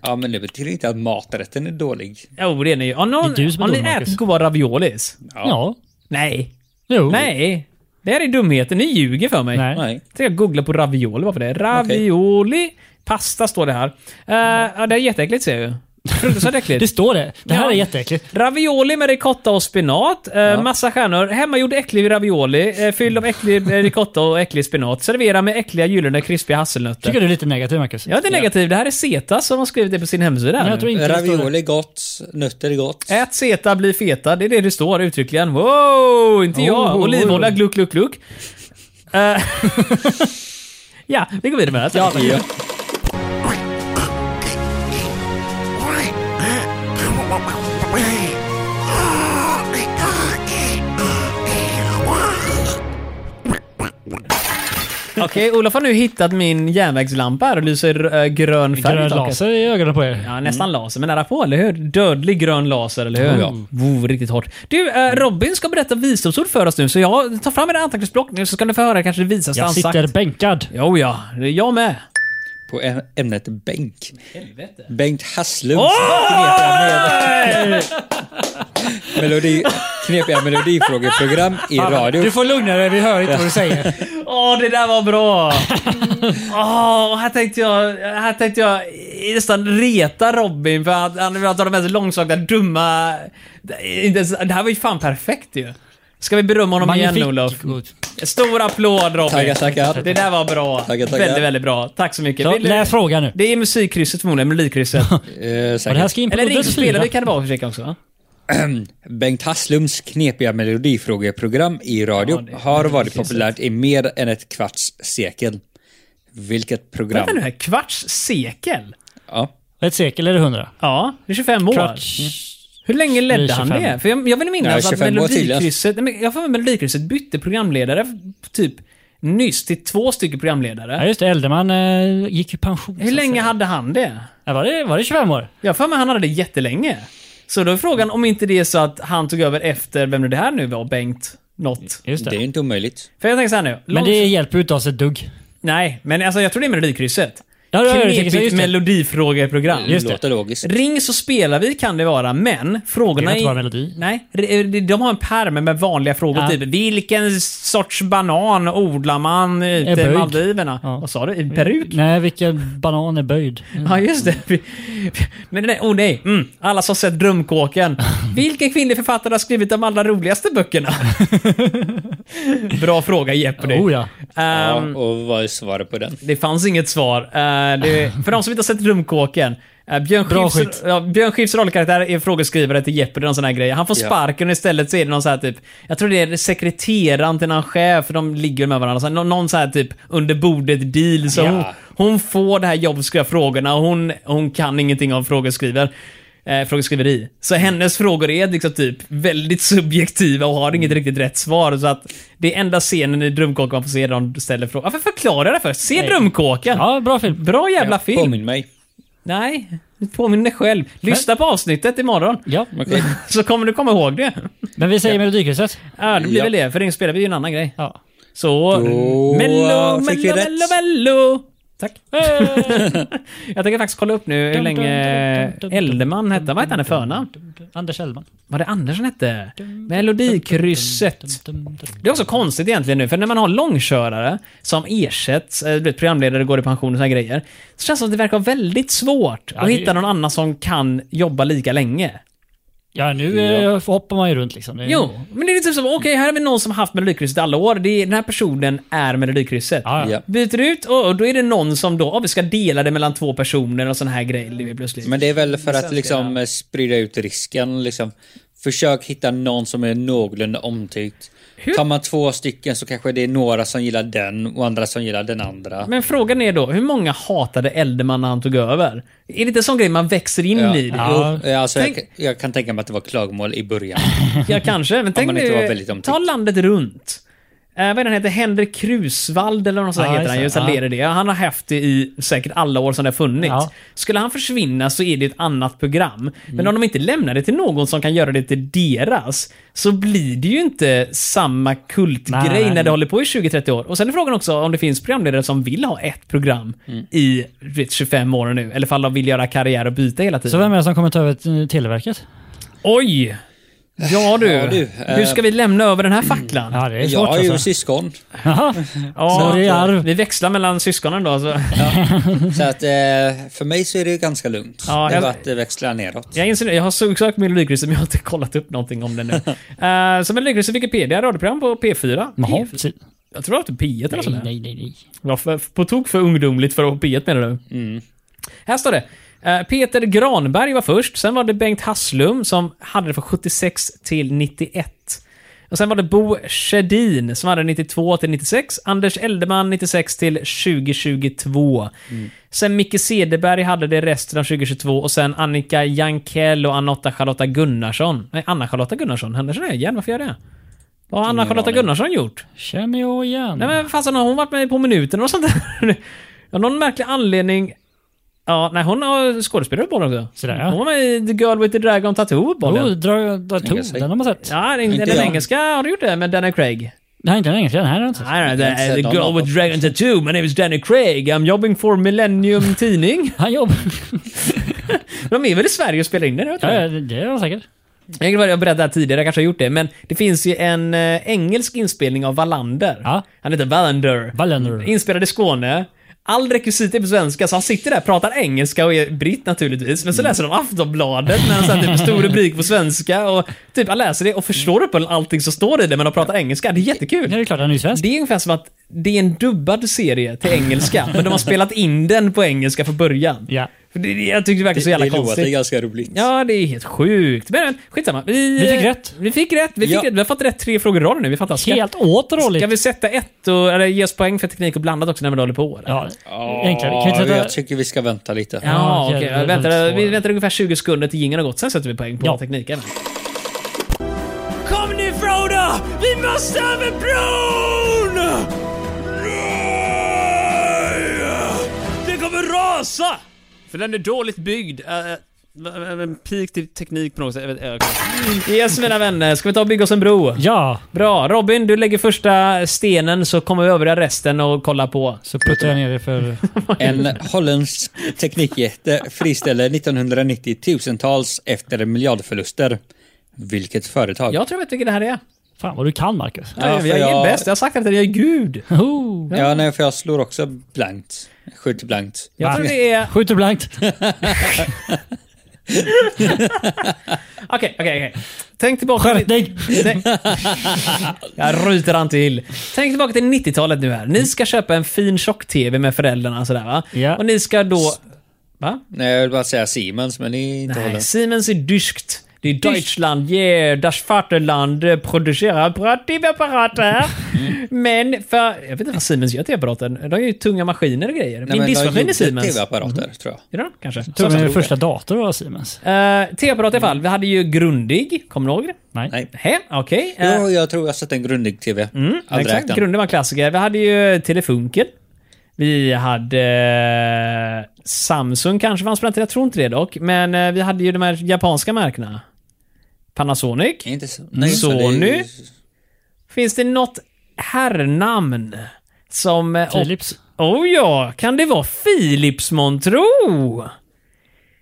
D: Ja, men det betyder inte att maträtten är dålig.
A: Jo, det är ni ju. Har, någon,
B: Det är du som är
A: har ni
B: dum, Marcus.
A: ätit goda raviolis?
B: Ja. ja.
A: Nej.
B: Jo.
A: Nej. Det här är dumheten. Ni ljuger för mig.
B: Nej.
D: Nej.
A: Jag tänkte googla på Eh, ravioli bara för det. Ravioli. Pasta står det här. Uh, ja, det är jätteäckligt ser jag ju. Fruktansvärt äckligt.
B: <laughs> Det står det. Det här
A: Ja.
B: är jätteäckligt.
A: Ravioli med ricotta och spenat. Eh, Massa stjärnor. Hemmagjord äcklig ravioli. Eh, fylld av äcklig eh, ricotta och äcklig spenat. Servera med äckliga gyllene krispiga hasselnötter.
B: Tycker du är lite negativ Marcus?
A: Jag är inte negativ. Det här är Zeta som har skrivit det på sin hemsida.
B: Men jag tror inte det står det.
D: Ravioli gott, nötter är gott.
A: Ät Zeta, bli feta. Det är det det står uttryckligen. Wow, inte jag.
B: Oh.
A: Olivolja, gluck, gluck, gluck. Eh, <laughs> ja, vi går vidare med det.
D: Ja.
A: Okej, Olof har nu hittat min järnvägslampa här och lyser eh, grön färg i
B: Grön
A: taket.
B: laser i ögonen på er.
A: Ja, nästan laser, men nära på, eller hur? Dödlig grön laser, eller hur?
B: Oh
A: Wow, riktigt hårt. Du, eh, Robin ska berätta visdomsord för oss nu, så jag tar fram era anteckningsblock nu så ska ni få höra kanske det visaste
B: Jag
A: han sagt.
B: sitter bänkad.
A: Jo, ja. Det är Jag med.
D: På ä- ämnet bänk. Bengt Hasslunds knepiga, med, <laughs> melodi, knepiga melodifrågeprogram i radio.
B: Du får lugna dig, vi hör inte vad du <laughs> säger.
A: Åh, det där var bra! Åh, och här tänkte jag, här tänkte jag nästan reta Robin för att han vill ha de mest långsökta, dumma... Inte ens- Det här var ju fan perfekt ju. Ska vi berömma honom igen Olof? Stor applåd Robin!
D: Tackar, tackar.
A: Det där var bra.
D: Tackar, tackar.
A: Väldigt, väldigt bbra. Tack så mycket.
B: Så,
A: Vill du-
B: Läs frågan nu.
A: Det är musikkrysset förmodligen,
B: <laughs>
A: melodikrysset.
D: Eh,
B: Och
D: säkert.
B: det här ska in på
A: Eller ring
B: Luddes
A: så spelar
B: fyra.
A: vi kan det vara för sig också va?
D: Bengt Hasslums knepiga melodifrågeprogram i radio
A: Ja, det-
D: har varit populärt i mer än ett kvarts sekel. Vilket program?
A: Vänta nu här, kvarts sekel?
D: Ja.
B: Ett sekel eller hundra?
A: Ja, det är 25 år.
B: Kvarts.
A: Mm. Hur länge ledde han
B: 25.
A: det? För jag, jag vill
D: Ja,
A: minnas att
D: 25 var tydligast.
A: Melodikrysset, nej, men jag får med Melodikrysset bytte programledare f- typ nyss till två stycken
B: Ja
A: programledare.
B: just det, Elderman eh, gick ju i pension.
A: Hur länge hade han det?
B: Ja, Äh, var, det, var det 25 år?
A: Jag har för mig han hade det jättelänge. Så då är frågan om inte det är så att han tog över efter, vem det här nu var, Bengt något.
B: Just det.
D: Det är ju inte omöjligt.
A: För jag tänker såhär nu.
B: Men
A: långs-
B: det hjälper ju inte oss ett dugg.
A: Nej, men alltså jag tror det är Melodikrysset.
B: Ja, ja, ja, jag tänker så,
A: Knepigt
B: just det.
A: melodifrågeprogram.
B: Just det.
D: Låter logiskt.
A: Ring så spelar vi kan det vara, men
B: Det
A: frågorna...
B: kan inte
A: är-
B: vara melodi.
A: Nej, re- de- de har en pärm med vanliga frågor.
B: Ja.
A: Typ, vilken sorts banan odlar man ute i
B: böjd.
A: Maldiverna?
B: Ja. Mm.
A: Vad sa du? I Peru?
B: Nej, vilken banan är böjd.
A: Ja, just det. <laughs> Vi- Men nej, oh nej. Mm. Alla som sett
B: <laughs>
A: Drömkåken. Vilken kvinnlig författare har skrivit de allra roligaste böckerna? Bra fråga Jeopardy.
B: Oh ja.
A: Ehm,
D: ja, och vad är svaret på den?
A: Det fanns inget svar. Eh, det, för de som inte har sett Rumkåken. eh, Björn
B: Bra
A: Skifs,
B: skit.
A: ja, Björn Skifs rollkaraktär är frågeskrivare till Jeopardy och någon sån här grej. Han får
D: Ja.
A: sparken och istället så är det någon sån här typ, jag tror det är sekreteraren till någon chef, för de ligger med varandra. Så här, någon, någon sån här typ under bordet deal. Så
D: Ja.
A: hon, hon får det här jobbskriva frågorna och hon, hon kan ingenting om frågeskriver. Eh, frågeskriveri. Så hennes frågor är liksom typ väldigt subjektiva och har inget riktigt rätt svar. Så att det är enda scenen i Drömkåken man får se där de ställer frågor. Varför förklarar jag det för? Se Drömkåken!
B: Ja, bra film.
A: Bra jävla
D: Ja,
A: film!
D: Påminn mig.
A: Nej, påminn dig själv. Lyssna på avsnittet imorgon. <laughs>
B: Ja,
D: Okej.
A: Så kommer du komma ihåg det.
B: men vi säger Melodikrysset.
A: Ja, det blir
D: Ja.
A: väl det. För ring spelar vi ju en annan grej.
B: Ja.
A: Så...
D: Då
A: mello,
D: fick vi
A: mello,
D: rätt.
A: mello, mello! Tack. <laughs> jag tänker faktiskt kolla upp nu hur länge Elderman hette. Vad hette han i förnamn?
B: Anders Hellman.
A: Vad det Andersson hette? Melodikrysset. Det är också konstigt egentligen nu, för när man har långkörare som ersätts, eh, du vet, programledare går i pension och såna här grejer, så känns det som att det verkar väldigt svårt att
B: det-
A: hitta någon annan som kan jobba lika länge.
B: Ja, nu eh, hoppar man ju runt liksom. Det är-
A: Jo, men det är typ som, okej, här har vi någon som haft Melodikrysset i alla år, det är, den här personen är Melodikrysset.
B: Ja, ja.
D: Ja.
A: Byter ut, och och då är det någon som då, oh, vi ska dela det mellan två personer och sån här grej det blir plötsligt.
D: Men det är väl för att liksom eh, sprida ut risken. Liksom. Försök hitta någon som är någorlunda omtyckt. Tar man två stycken så kanske det är några som gillar den och andra som gillar den andra.
A: Men frågan är då, hur många hatade Elderman när han tog över? Är det inte en sån grej man växer in i? det?
B: Ja.
D: Jo, eh, alltså,
A: Tänk-
D: jag, jag kan tänka mig att det var klagomål i början.
A: Ja, kanske. Men tänk
D: man inte var väldigt
A: nu,
D: omtyckt.
A: ta landet runt. Eh, vad är han heter? Henrik Krusvald eller något sånt
B: Ja,
A: heter
B: just
A: han
B: det.
A: ju. Så
B: Ja.
A: leder det. Han har haft det i säkert alla år som det har funnits.
B: Ja.
A: Skulle han försvinna så är det ett annat program. Men om de inte lämnar det till någon som kan göra det till deras, så blir det ju inte samma
B: Nej,
A: kultgrej
B: nej,
A: när
B: nej.
A: det håller på i 20-30 år. Och sen är frågan också om det finns programledare som vill ha ett program i du vet, 25 år nu. Eller om de vill göra karriär och byta hela tiden.
B: Så vem är det som kommer ta över eh, Televerket?
A: Oj! Ja du.
D: Ja, du. Eh.
A: Hur ska vi lämna över den här facklan?
B: Ja, det är svårt
D: Jag är ju
B: alltså.
D: syskon.
B: Jaha.
A: Ja,
B: Så det är arv.
A: vi växlar mellan syskonen då. Så.
D: Så att eh, för mig så är det ju ganska lugnt.
A: Ja,
D: det
A: jag-
D: är bara att det växlar neråt.
A: Jag, inser, jag har sökt Melodikrysset men jag har inte kollat upp någonting om det
B: <laughs>
A: nu. uh, så Melodikrysset Wikipedia, radioprogram på P4.
B: Jaha,
A: P4.
B: precis.
A: Jag tror att det var P1 eller något
B: Nej,
A: sånt där.
B: nej, nej, nej.
A: Ja, för, på tok för ungdomligt för att P1 menar du? Här står det. eh, Peter Granberg var först, sen var det Bengt Hasslum som hade det från 76 till 91. Och sen var det Bo Sjödin som hade 92 till 96, Anders Eldeman 96 till 2022. Sen Micke Cederberg hade det resten av 2022 och sen Annika Jankell och Anna Charlotta Gunnarsson. Nej, Anna-Charlotta Gunnarsson, henne känner jag igen, varför gör jag det? Vad har Anna-Charlotta
D: aning.
A: Gunnarsson gjort?
B: Känner jag igen.
A: Nej men fasen har hon varit med På minuten och sånt där? <laughs> Av någon märklig anledning... Ja, nej hon har skådespelat på den också.
B: Sådär, ja.
A: Hon var med i The Girl with the Dragon Tattoo på
B: Oh,
A: den.
B: dra, dra,
D: Tänker
B: tog,
D: sig.
B: den har man sett.
A: Ja, den, den
D: jag.
A: engelska har du gjort det med Danny Craig.
B: Nej, inte den engelska. Den här har jag inte sett.
A: Nej, nej,
D: har inte
A: the,
D: sett
A: the
D: någon
A: Girl
D: av
A: with
D: dem.
A: Dragon Tattoo. My name is Danny Craig. I'm jobbing for Millennium Tidning.
B: Han jobbar...
A: <laughs> De är väl i Sverige och spelar in den? Jag
B: ja,
A: tror jag.
B: ja, det- det är han säkert.
A: Jag vet inte vad jag berättade tidigare, jag kanske har gjort det, men det finns ju en eh, engelsk inspelning av Wallander.
B: Ja.
A: Han heter Wallander.
B: Wallander.
A: Inspelad i Skåne. All rekvisit är på svenska, så han sitter där, pratar engelska och är britt naturligtvis, men så
B: Mm.
A: läser de Aftonbladet med en sån här typ stor rubrik på svenska och typ han läser det och förstår upp allting som står i det, men de pratar engelska. Det är jättekul.
B: Det är ju klart han är ju svensk.
A: Det är ungefär som att det är en dubbad serie till engelska, men de har spelat in den på engelska från början.
B: Ja.
A: För det, det- jag tyckte det verkade så
D: Det,
A: jävla
D: det låter
A: konstigt.
D: ganska roligt.
A: Ja, det är helt sjukt. Men, men skitsamma. Vi,
B: Vi fick rätt.
A: Vi fick rätt. Vi, fick
D: Ja.
A: rätt. vi har fått rätt tre frågor i rad nu. Vi är fantastiska.
B: Helt återhålligt.
A: Ska vi sätta ett och, eller ge oss poäng för teknik och blandat också när vi håller på? eller?
B: Ja,
D: Ja,
B: enklare. Kan vi inte
D: Jag
B: sätta...
D: tycker vi ska vänta lite.
A: Ja,
B: Ja,
A: okej.
B: det är
A: Vänta,
B: väldigt
A: vi
B: svårt.
A: väntar ungefär 20 sekunder till jingeln har gått, sen sätter vi poäng på
B: Ja.
A: tekniken.
E: Kom nu Frodo! Vi måste över bron! Nej!
A: Den kommer rasa! För den är dåligt byggd. Äh, Pik till teknik på något sätt. Yes mina vänner, ska vi ta och bygga oss en bro?
B: Ja,
A: Bra, Robin du lägger första stenen så kommer vi övriga resten och kollar på.
B: så puttar jag ner det för...
D: En holländsk teknikjätte friställer 1990 tusentals efter miljardförluster. Vilket företag?
A: Jag tror jag vet vilket det här är.
B: Fan vad du kan, Marcus.
D: Ja,
A: jag
D: för
A: jag är
D: jag-
A: bäst, jag har sagt att jag är gud.
B: Oh.
D: Ja, nej, för jag slår också blankt. Skjuter blankt.
A: Jag tror det är...
B: Skjuter blankt.
A: Okej, okej, okej. Tänk tillbaka...
B: Skärp dig!
A: Nej. Jag ryter han till. Tänk tillbaka till 90-talet nu här. Ni ska köpa en fin tjock-tv med föräldrarna och sådär va?
B: Ja.
A: Och ni ska då... Va?
D: Nej, jag vill bara säga Siemens, men det är inte
A: Nej,
D: holländskt.
A: Siemens är dyskt. Det är Deutschland, yeah, das Vaterland eh, producerar bra TV-apparater. Men för... Jag vet inte vad Siemens gör till apparaten. De gör ju tunga maskiner och grejer.
D: Nej,
A: Min
D: men de
A: diskmaskin är
D: gjorde
A: Siemens. Mm.
D: TV-apparater, tror jag.
A: Är det de? Kanske.
B: Tror du
A: Samma.
B: min första dator var Siemens?
A: Eh, TV-apparat i alla fall. Vi hade ju Grundig. Kommer ni ihåg det?
B: Nej.
D: Nej.
A: Hä? Okej. Eh,
D: Jo, jag tror jag har sett en grundlig TV. Mm, Aldrig ägt
A: Exakt,
D: den.
A: grunden var en klassiker. Vi hade ju Telefunken. Vi hade eh, Samsung kanske fanns på den tiden, jag tror inte det dock. Men eh, vi hade ju de här japanska märkena. Panasonic.
D: Inte så. Nej, just det,
A: Sony.
D: det är-
A: Finns det något herrnamn som... eh, och-
B: Philips.
A: Oh ja, kan det vara Philips månntro?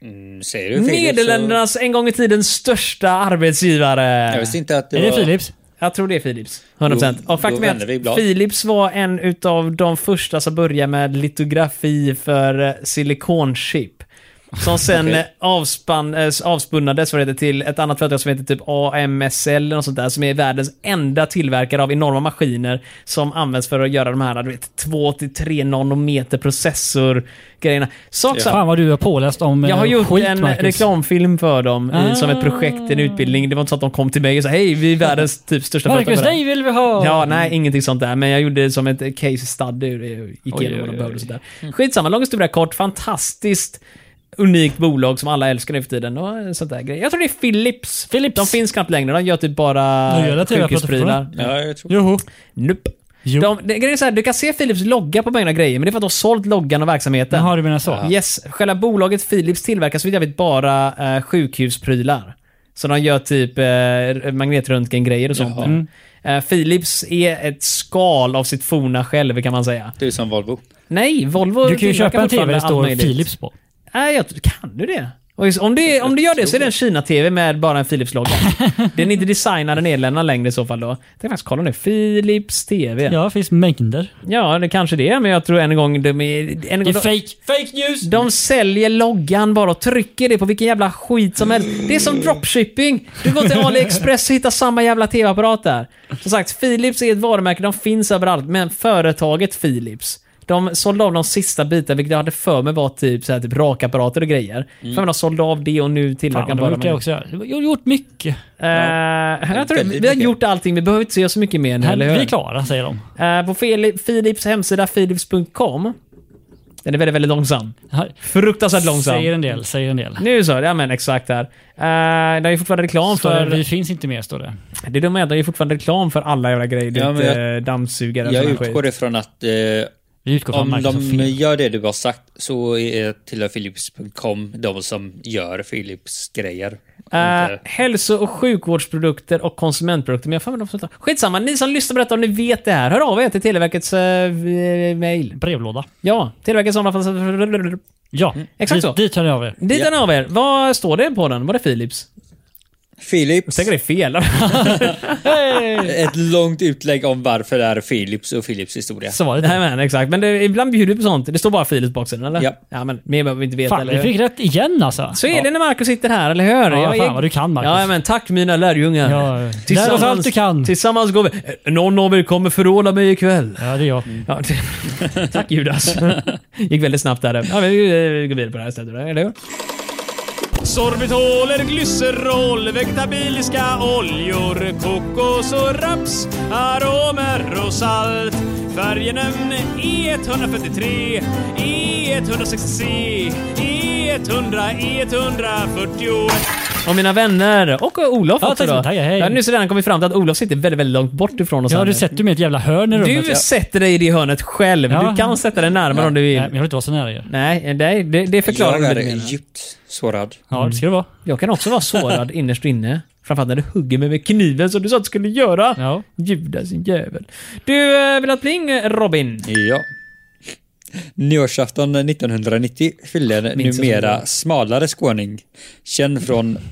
D: Mm, Säger du Philips så-
A: Nederländernas en gång i tiden största arbetsgivare.
D: Jag visste inte att det
B: Är
D: var...
B: det Philips?
A: Jag tror det är Philips. 100%.
D: Då-
A: och faktum
D: då vänder vi
A: är att
D: blad.
A: Philips var en utav de första som började med litografi för eh, silikonchip. Som sen
D: Okej.
A: okay. avspann, eh, avspunnades vad det heter, till ett annat företag som heter typ AMSL eller något sånt där. Som är världens enda tillverkare av enorma maskiner som används för att göra de här du vet, 2-3 nanometer processor-grejerna. Sak samma.
B: Fan vad du har påläst om eh,
A: Jag har gjort
B: skit,
A: en
B: Marcus.
A: reklamfilm för dem i, som ett projekt, en
B: Ah.
A: utbildning. Det var inte så att de kom till mig och sa hej, vi är världens typ största
B: Marcus,
A: på det här."
B: dig vill vi ha!
A: Ja, nej, ingenting sånt där. Men jag gjorde det som ett case study. Jag Gick
B: Oj,
A: igenom vad
B: oj, Mm.
A: de
B: oj.
A: behövde och sådär. Skitsamma, lång historia kort. Fantastiskt unikt bolag som alla älskar nu för tiden. Och sånt där grejer. Jag tror det är Philips.
B: Philips.
A: De finns knappt längre. De gör typ bara
B: De gör det till
A: sjukhusprylar.
D: Ja, jag tror...
B: Joho.
A: Nope.
B: Jo.
A: De, det, grejen är så här, du kan se Philips logga på många grejer, men det är för att de har sålt loggan och verksamheten.
B: Jaha, du menar så.
A: Yes, själva bolaget Philips tillverkar så vitt jag vet bara eh, sjukhusprylar. Så de gör typ eh, magnetröntgengrejer och sånt. där.
B: Mm.
A: Eh, Philips är ett skal av sitt forna själv kan man säga.
D: Du är som Volvo.
A: Nej, Volvo
B: Du kan ju
A: tillverkar
B: köpa en TV
A: fortfarande
B: det
A: allt
B: står
A: möjligt.
B: Philips på.
A: Nej, jag, kan du det? Och just, om, det, om du gör det så är det en Kina-TV med bara en
B: <laughs>
A: Philips-logga. Den är inte designad i Nederländerna längre i så fall då. Jag tänkte faktiskt kolla nu. Philips TV. Ja.
B: Ja, det finns mängder.
A: det kanske det är, men jag tror än en gång... De, är, en
B: Det
A: gång
B: är
A: de,
B: fake. Fake news!
A: de säljer loggan bara och trycker det på vilken jävla skit som helst. Det är som
D: Mm.
A: dropshipping. Du går till AliExpress och hittar samma jävla TV-apparat där. Som sagt, Philips är ett varumärke, de finns överallt, men företaget Philips de sålde av de sista bitarna, vilket jag hade för mig var typ, så här, typ rakapparater och grejer.
D: Mm.
A: För mig de sålde av det och nu
B: Fan,
A: tillverkar
B: de
A: bara
B: har
A: de
B: gjort det också. Jag har gjort mycket.
A: Eh, jag tror,
D: väldigt
A: vi har
D: mycket.
A: gjort allting, vi behöver inte göra så mycket mer nu,
B: Nej,
A: eller
B: vi
A: hur?
B: är klara, säger de.
A: Eh, på Phili- Philips hemsida, philips.com. Den är väldigt, väldigt långsam. Fruktansvärt Mm. långsam.
B: Säger en del, säger en del.
A: Nu så, ja men exakt där. Uh, det är ju fortfarande reklam
B: Står det,
A: för...
B: vi finns inte mer, står det.
A: Det är dumma är att det är ju fortfarande reklam för alla jävla grejer.
D: Ja,
A: ditt
D: men jag-
A: eh, dammsugare och
D: Jag
A: sån här skit.
D: utgår ifrån att eh,
B: Vi utgår från
D: om
B: Microsoft.
D: de
B: De...
D: gör det du har sagt så är tillhör Philips.com de som gör Philips grejer.
A: Eh,
D: Inte-
A: hälso och sjukvårdsprodukter och konsumentprodukter. Men jag har för mig de som tar- Skitsamma, ni som lyssnar på detta om ni vet det här, hör av er till Televerkets uh, mail.
B: Brevlåda.
A: Ja, Televerkets sommarfas...
B: Ja,
A: Mm. Exakt
B: dit,
A: så. Mm.
B: dit hör ni av er.
A: Dit hör ni av er. Vad står det på den? Var det Philips? Jag
D: Philips,
A: tänker det är fel. <laughs>
D: <laughs> ett långt utlägg om varför det är Philips och Philips historia.
B: Så var det
A: Nej
B: inte.
A: men exakt. Men det, ibland bjuder vi på sånt. Det står bara Philips på baksidan eller?
D: Ja.
A: ja men mer behöver vi inte veta.
B: Fan,
A: eller
B: vi
A: hur?
B: fick rätt igen alltså.
A: Så är det när Marcus sitter här, eller hur?
B: Ja,
A: Jag är-
B: fan vad du kan, Marcus.
A: Ja, men tack mina lärjungar.
B: Ja, lär oss allt du kan.
A: Tillsammans går vi... Eh, Någon av er kommer förråda mig ikväll.
B: Ja, det är jag.
A: Ja, det, <laughs> tack Judas. Gick väldigt snabbt där. Ja, men vi eh, går vidare på det här stället, eller hur?
E: Sorbitoler, glycerol, vegetabiliska oljor, kokos och raps, aromer och salt. E Färgenämn E143, E E160, E E100, E141.
A: Och mina vänner, och Olof
B: Ja,
A: också
B: tack
A: då.
B: så mycket. Hej, hej.
A: Jag har nyss redan kommit fram till att Olof sitter väldigt, väldigt långt bort ifrån oss.
B: Ja,
A: här
B: du
A: nu.
B: sätter mig i ett jävla hörn i rummet.
A: du sätter dig i det hörnet själv.
B: Ja.
A: Du kan sätta dig närmare om du
B: Nej,
A: vill.
B: men jag vill inte vara så nära er.
A: Nej, nej det, det förklarar
D: Jag
A: du
D: är
A: lite mer.
D: djupt sårad.
B: Ja, det ska det vara.
A: Jag kan också vara
B: <laughs>
A: sårad innerst inne. Framförallt när du hugger mig med kniven som du sa att du skulle göra.
B: Ja.
A: Judas din jävel. Du, eh, vill ha ett pling eh, Robin?
D: Ja. Nyårsafton 1990 fyllde en
A: Minns jag som
D: numera smalare skåning, känd från
A: Men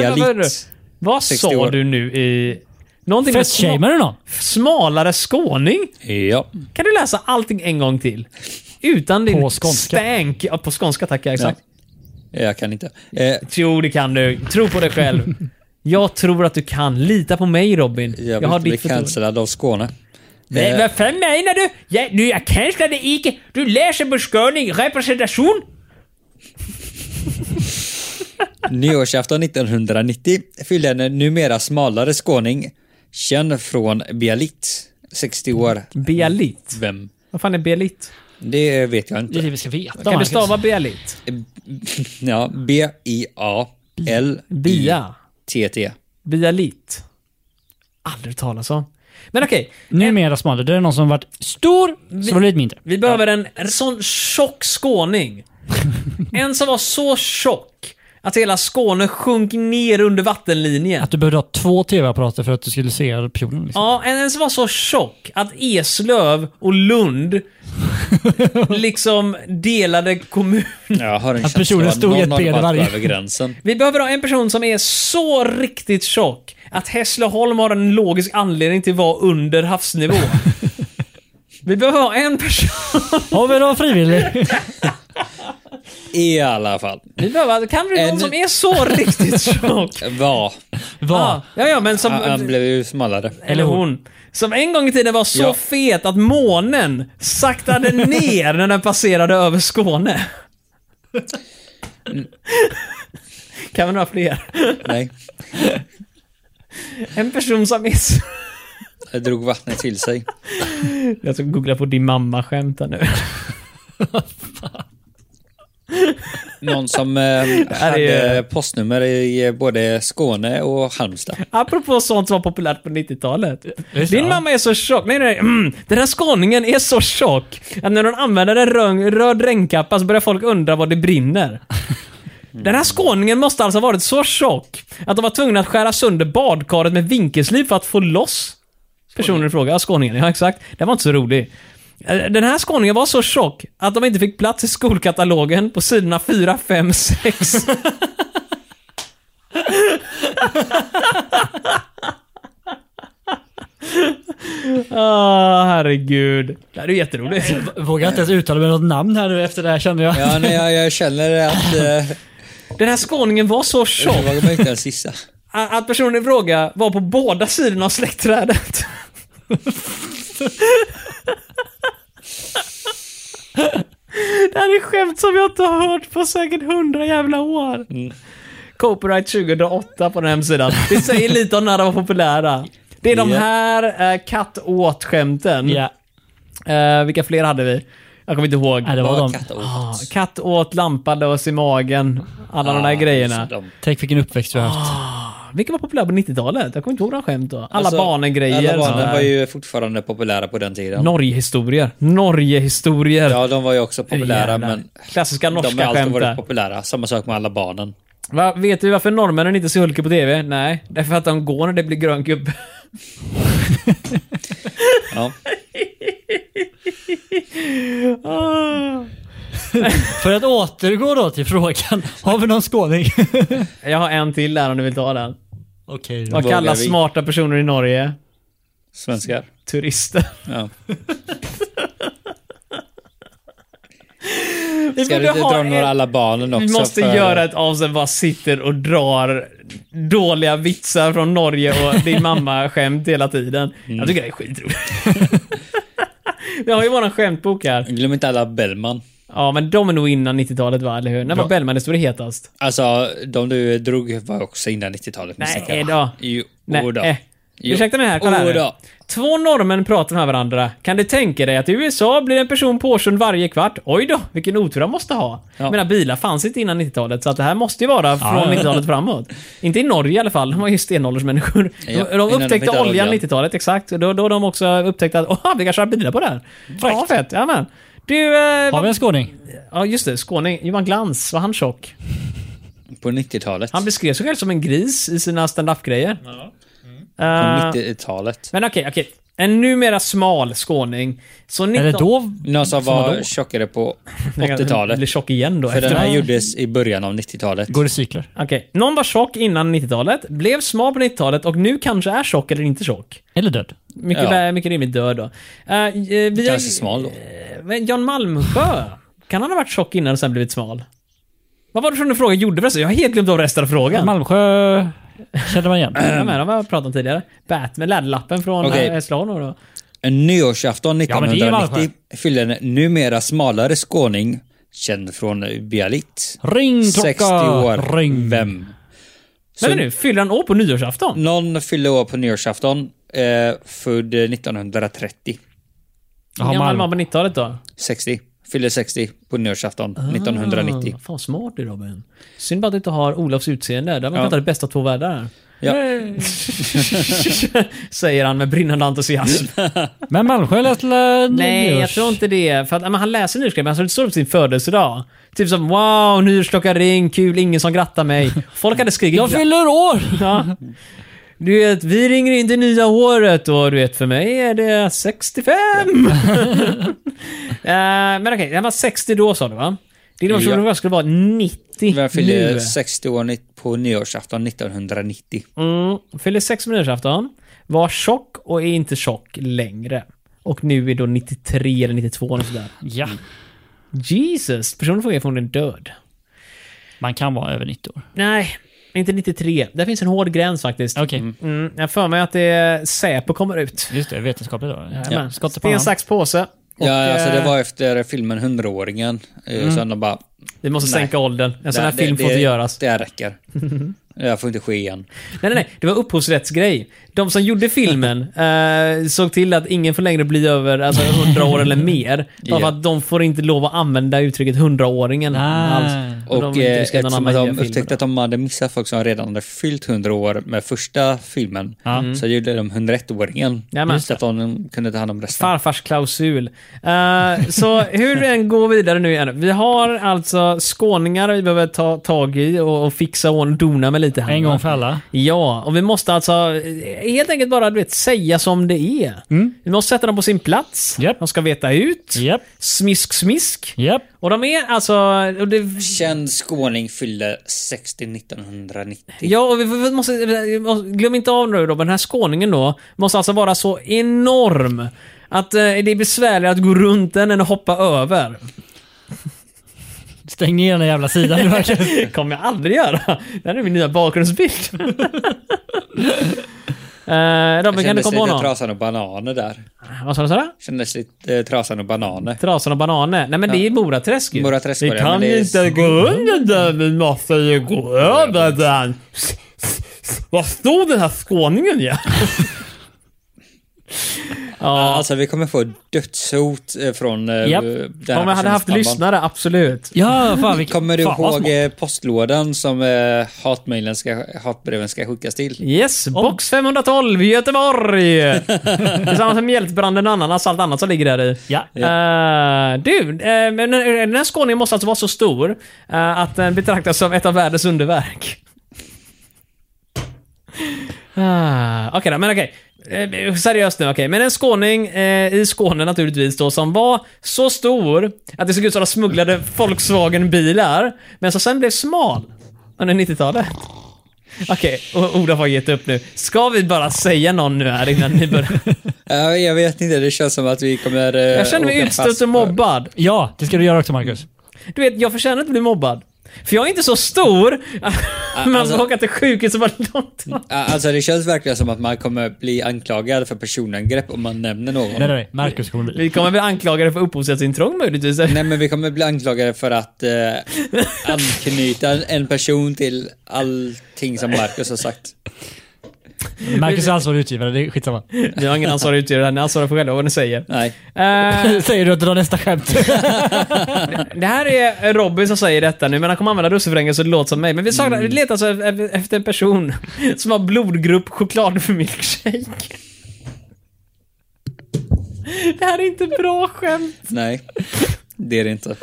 A: vad-
D: Biarritz.
A: Vad
D: 60
A: sa
D: år.
A: du nu i... Någonting med
B: Fettshamar du någon?
A: smalare skåning?
D: Ja.
A: Kan du läsa allting en gång till? Utan din
B: På skånska.
A: stänk. Ja, på skånska tack, ja, exakt.
D: Jag kan inte. Eh,
A: Jo, det kan du. Tro på dig själv.
B: <laughs>
A: Jag tror att du kan. Lita på mig Robin.
D: jag vill
A: har
D: inte bli
A: ditt förtroende.
D: cancellad av Skåne.
A: Nej,
D: Eh,
A: vad fan menar du? Jag, du, jag kanslade inte. Du läser på skåning representation.
D: Nyårsafton 1990 fyllde en numera smalare skåning, känd från Biarritz. 60 år.
A: Bialit.
D: Vem?
A: Vad fan är bialit?
D: Det vet jag
B: Det är
D: inte.
B: det vi ska veta.
A: Kan du
B: Marcus.
A: stava bialit?
D: Ja, B-I-A-L-I-T-T.
A: Bia. Bialit. Aldrig talas om. Men okej.
B: Numera smalare. Det är någon som varit stor, som var lite mindre.
A: Vi behöver en, en sån tjock <laughs> skåning. en som var så tjock att hela Skåne sjönk ner under vattenlinjen.
B: Att du behövde ha två tv-apparater för att du skulle se pionen. Liksom.
A: Ja, en, en som var så tjock att Eslöv och Lund <laughs> liksom delade kommun.
D: Jag har en
B: Att
D: känsla
B: personen
D: av att
B: stod i
D: någon
B: ett
D: har
B: ben
D: varit
B: varje.
D: över gränsen.
A: Vi behöver ha en person som är så riktigt tjock att Hässleholm har en logisk anledning till att vara under <laughs> havsnivå. Vi behöver ha en person.
B: Ja, men det
A: <laughs>
B: var frivillig.
D: I alla fall.
A: Vi behöver, kan vi någon
D: En-
A: som är så riktigt <laughs> tjock?
D: Var.
B: Var.
A: Ja, ja, ja, men som...
D: Han han blev ju smalare.
A: Eller hon. Som en gång i tiden var så
D: Ja.
A: fet att månen saktade <laughs> ner när den passerade över Skåne. Mm. kan vi några fler?
D: Nej,
A: En person som är så...
D: jag drog vattnet till sig.
A: Jag ska googla på din mamma-skämt här nu.
D: Någon som eh,
A: är-
D: hade postnummer i eh, både Skåne och Halmstad.
A: Apropå sånt som var populärt på 90-talet.
B: Just det,
A: Din
B: ja.
A: mamma är så tjock. Nej, nej, mm, den här skåningen är så tjock att när hon använder en röd, röd regnkappa så börjar folk undra vad det brinner. Den här skåningen måste alltså ha varit så tjock att de var tvungna att skära sönder badkaret med vinkelsliv för att få loss personen i fråga. Ja, skåningen. Ja, exakt. Den var inte så rolig. Eh, Den här skåningen var så tjock att de inte fick plats i skolkatalogen på sidorna 4, 5, 6. <laughs> Ah, herregud. Det här är ju jätteroligt.
B: Vågar inte ens uttala mig något namn här nu efter det här känner jag.
D: Ja, nej, jag, jag känner att... Eh,
A: Den här skåningen var så
D: jag
A: tjock
D: vågar mig inte ens gissa.
A: a- att personen i fråga var på båda sidorna av släktträdet. Det här är skämt som jag inte har hört på säkert hundra jävla år.
D: Mm.
A: Copyright 2008 på den här hemsidan. Det säger lite om när de var populära. Det är de
D: Ja.
A: här eh, katt-åt-skämten.
B: Ja,
A: Eh, vilka fler hade vi? Jag kommer inte ihåg.
B: nej, det var de.
D: Vad katt åt.
A: Ah, katt åt, lampa lös i magen. Alla de där
D: Ah,
A: grejerna.
D: så de-
B: Tänk vilken uppväxt du har haft.
A: Vilka var populära på 90-talet? Jag kommer inte ihåg några skämt då. Alla
D: Alltså,
A: barnen-grejer.
D: Alla
A: sådär.
D: barnen var ju fortfarande populära på den tiden.
A: Norgehistorier. Norgehistorier.
D: Ja, de var ju också populära,
A: Jävlar.
D: men
A: Klassiska
D: de har
A: norska
D: alltid
A: skämt
D: varit
A: där.
D: populära. Samma sak med alla barnen.
A: Va, vet du varför norrmännen inte ser Hulke på TV? Nej, därför att de går när det blir grön
D: <laughs>
A: gubbe.
D: Ja.
A: Ah.
B: För att återgå då till frågan. Har vi någon skåning?
A: Jag har en till där om du vill ta den.
B: <laughs> Okej då.
A: Vad
D: Vågar
A: kallas
D: vi?
A: smarta personer i Norge?
D: Svenskar.
A: Turister.
D: Ja.
A: Vi
D: Ska du
A: borde
D: inte
A: ha
D: dra
A: en-
D: några alla barnen också?
A: Vi måste
D: för-
A: göra ett avsnitt där bara sitter och drar dåliga vitsar från Norge och din <laughs> mamma-skämt hela tiden. Jag tycker det är skitroligt. <laughs> Vi har ju våran skämtbok här.
D: Glöm inte alla Bellman.
A: Ja, men de är nog innan 90-talet va, eller hur? När var Bellman det stod hetast?
D: Alltså, de du drog var också innan 90-talet. misstänker jag.
A: Nej då.
D: Jo,
A: Nej.
D: då.
A: eh.
D: Jo.
A: Ursäkta mig här, kolla här
D: Jo
A: nu.
D: då.
A: Två norrmän pratar med varandra. Kan du tänka dig att i USA blir en person påkörd varje kvart? Oj då, vilken otur han måste ha.
D: Ja.
A: Mina bilar fanns inte innan 90-talet, så att det här måste ju vara från
B: ja.
A: 90-talet framåt. Inte i Norge i alla fall, de var ju stenåldersmänniskor. De,
D: Ja, innan
A: de
D: de
A: upptäckte
D: hittade
A: oljan
D: oljan.
A: 90-talet, exakt. Och Då, då de också upptäckte att åh, vi kan köra bilar på det här. Ja, fett. Jajamän. Du, eh,
B: Har vi
A: vad,
B: en skåning?
A: ja just det, skåning. Johan Glans, var han tjock?
D: På 90-talet.
A: Han beskrev sig själv som en gris i sina stand-up-grejer.
D: På
A: Eh,
D: 90-talet.
A: Men okej, okej. En numera smal skåning. Så 19...
B: Eller då?
D: Någon som
B: var
D: var
B: då?
A: <laughs>
D: tjockare på
A: Jag
D: 80-talet.
A: blir tjock igen då.
D: För den här
A: efteråt.
D: gjordes i början av 90-talet.
B: Går det cykler?
A: Okej. Någon var tjock innan 90-talet, blev smal på 90-talet och nu kanske är tjock eller inte tjock.
B: Eller död?
A: Mycket,
D: Ja.
A: väl, mycket rimligt död då. Eh, eh, vi har-
D: Ganska smal då.
A: Eh, men Jan Malmsjö. Kan han ha varit tjock innan och sen blivit smal? Vad var det som du frågade gjorde förresten? Jag har helt glömt av resten av frågan.
B: Malmsjö känner man igen.
A: Ja, men de har jag pratat om tidigare. Batman, laddlappen från
D: Okej.
A: okay. Hässleholm då.
D: En nyårsafton
B: Ja, men det är ju
D: 1990 fyllde en numera smalare skåning, känd från Bialit,
B: Ring klocka!
D: 60 år.
B: Ring.
D: Vem? Så
A: Men nu, fyller han år på nyårsafton?
D: Någon fyllde år på nyårsafton, eh, född 1930.
A: Hur
B: Jaha,
A: gammal var
B: Malm.
A: han på 90-talet då?
D: 60. Fyllde 60 på nyårsafton 1990.
A: Ah, fan smart du Robin. Synd bara att du inte har Olofs utseende. Där man ja.
D: Ja.
A: pratar det bästa av två världar.
D: Ja.
A: <laughs> Säger han med brinnande entusiasm.
B: Men Malmsjö lät la-
A: Nej, jag
B: nyårs-
A: tror inte det. För att, ja, men han läser nyårsklockan, men han står upp sin födelsedag. Typ som “Wow, nyårsklockan ring, kul, ingen som grattar mig”. Folk hade skrikit
B: Jag fyller år!
A: ja. Du vet, vi ringer in det nya året och du vet, för mig är det 65! <laughs> Eh, men okej, han var 60 då sa du va? Det är de som
D: Ja.
A: trodde jag skulle vara 90
D: Vem fyllde
A: nu.
D: 60 år ni- på nyårsafton 1990?
A: Mm, fyller sex på nyårsafton. Var tjock och är inte tjock längre. Och nu är då 93 eller 92 eller sådär.
B: Ja,
A: Jesus, personen frågar från den död.
B: man kan vara över 90 år.
A: Nej, inte 93. Där finns en hård gräns faktiskt.
B: Okej,
A: Mm, jag har för mig att det är Säpo kommer ut.
B: just det. Vetenskapligt då.
A: Jajamän.
B: Skott i
A: Sten,
B: pannan.
A: sax, påse. Och,
D: Ja, alltså det
A: eh, Mm.
D: var efter filmen 100-åringen. eh, Så de bara...
A: Vi måste
D: Nej.
A: sänka åldern. En sån här
D: "Nej,
A: film
D: det,
A: får
D: det,
A: inte göras.
D: Det
A: <laughs>
D: här räcker. Det här får inte ske igen.
A: Nej, nej, nej. Det var upphovsrättsgrej. De som gjorde
D: <laughs>
A: filmen eh, såg till att ingen får längre bli över alltså, 100 år eller mer. Bara för
D: Ja. Ah.
A: att de får inte lov att använda uttrycket 100-åringen
B: Nej.
A: alls. Och
D: Och
A: de
D: eh,
A: inte riskerar några
D: eftersom att de
A: Maria-filmer
D: upptäckte
A: då.
D: att de hade missat folk som redan hade fyllt 100 år med första filmen, så gjorde de 101-åringen.
A: Mm. Jajamän.
D: Just att de kunde ta hand om resten.
A: Farfars klausul. Eh, så hur vi än går vidare nu igen. Vi har alltså skåningar vi behöver ta tag i och, och fixa och dona med lite här.
B: En
A: va?
B: gång för alla.
A: Ja, och vi måste alltså eh, helt enkelt bara du vet, säga som det är. Vi måste sätta dem på sin plats.
B: Mm. Japp.
A: De ska veta ut.
B: Japp,
A: Smisk, smisk.
B: japp.
A: Och de är alltså... Och det,
D: Känd skåning fyllde 60 1990.
A: ja, och vi, vi måste, vi måste- glöm inte av nu då, men den här skåningen då måste alltså vara så enorm att eh, det är besvärligare att gå runt den än att hoppa över.
B: Stäng ner den där jävla sidan nu verkligen.
A: Det kommer jag aldrig göra. Det här är min nya
B: <laughs>
A: bakgrundsbild. eh, Robin,
D: Jag
A: kan du
D: kändes
A: komma på
D: lite
A: någon?
D: trasan och bananer där.
A: Vad sa du? Sara?
D: Kändes lite eh, trasan och bananer.
A: Trasan och bananer. Nej men det är Moraträsk ju.
D: Moraträsk var
A: Vi
D: det,
A: kan
D: men det är-
A: inte gå under den, vi måste ju gå över den. Vad stod den här skåningen ja? ja,
D: Alltså vi kommer få dödshot eh, från eh,
B: Japp.
D: den
A: om jag hade
D: personens
A: haft
D: mamma.
A: lyssnare, absolut.
B: Ja, fan vilken...
D: Kommer du
B: fan, vad
D: ihåg
B: smart.
D: eh, postlådan som eh, hatmailen ska, hatbreven ska skickas till?
A: Yes, box 512 i Göteborg! <laughs> Tillsammans med mjältbranden, ananas, allt annat som ligger där i.
B: Ja.
A: Eh, du, eh, men den- den här skåningen måste alltså vara så stor eh, att den betraktas som ett av världens underverk. <laughs> Ah, okej då, men okej. Eh, seriöst nu, okej. Men en skåning eh, i Skåne naturligtvis då som var så stor att det såg ut som att de smugglade Volkswagen-bilar. Men som sen blev smal under 90-talet. Okej, och Olof har gett upp nu. Ska vi bara säga någon nu här innan ni
D: <laughs>
A: börjar?
D: Ja, jag vet inte, det känns som att vi kommer... eh,
A: Jag känner mig
D: åka fast
A: utstött och
D: för-
A: mobbad.
B: Ja, det ska du göra också Marcus.
A: Du vet, jag förtjänar inte att bli mobbad. För jag är inte så stor att man
D: alltså-
A: ska åka till sjukhus och bara långt.
D: Ja, Alltså det känns verkligen som att man kommer bli anklagad för personangrepp om man nämner någon.
B: Nej, nej, nej. Marcus kommer bli.
A: Vi kommer bli anklagade för upphovsrättsintrång möjligtvis. <laughs>
D: Nej men vi kommer bli anklagade för att eh, anknyta en person till allting som Marcus har sagt.
B: Marcus är ansvarig utgivare, det är skitsamma.
A: Ni har ingen ansvarig utgivare här, ni ansvarar för själva vad ni säger.
D: Nej.
A: Eh,
B: <laughs> Säger du att du drar nästa skämt?
A: det här är Robin som säger detta nu, men han kommer använda russinfrängen så det låter som mig. Men vi, saknar, vi letar alltså e- efter en person <laughs> som har blodgrupp chokladmilkshake. <laughs> Det här är inte bra skämt.
D: Nej, det är det inte.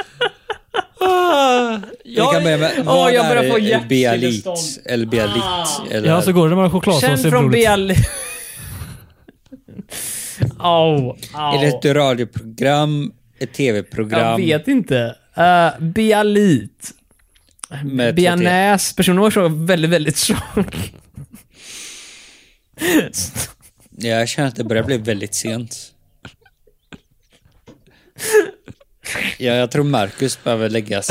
A: Ah, Jag,
D: Vi kan börja med,
A: Åh,
D: vad
A: jag börjar
D: är
A: få
D: eh, bealit?
A: hjärtstillestånd. Ah.
D: Eller bealit? Eller,
B: ja, så går det när man har
A: Känd
B: chokladsås i
A: från
B: <laughs> blodet.
D: <laughs>
A: BL... Au, au.
D: Är det ett radioprogram, ett
A: Jag
D: tv-program?
A: vet inte. Uh, Bialit.
D: Med två T?
A: Bianäs. Personen var så väldigt, väldigt
D: <laughs>
A: tjock.
D: Jag känner att det börjar bli väldigt sent. Ja, jag tror Marcus behöver läggas.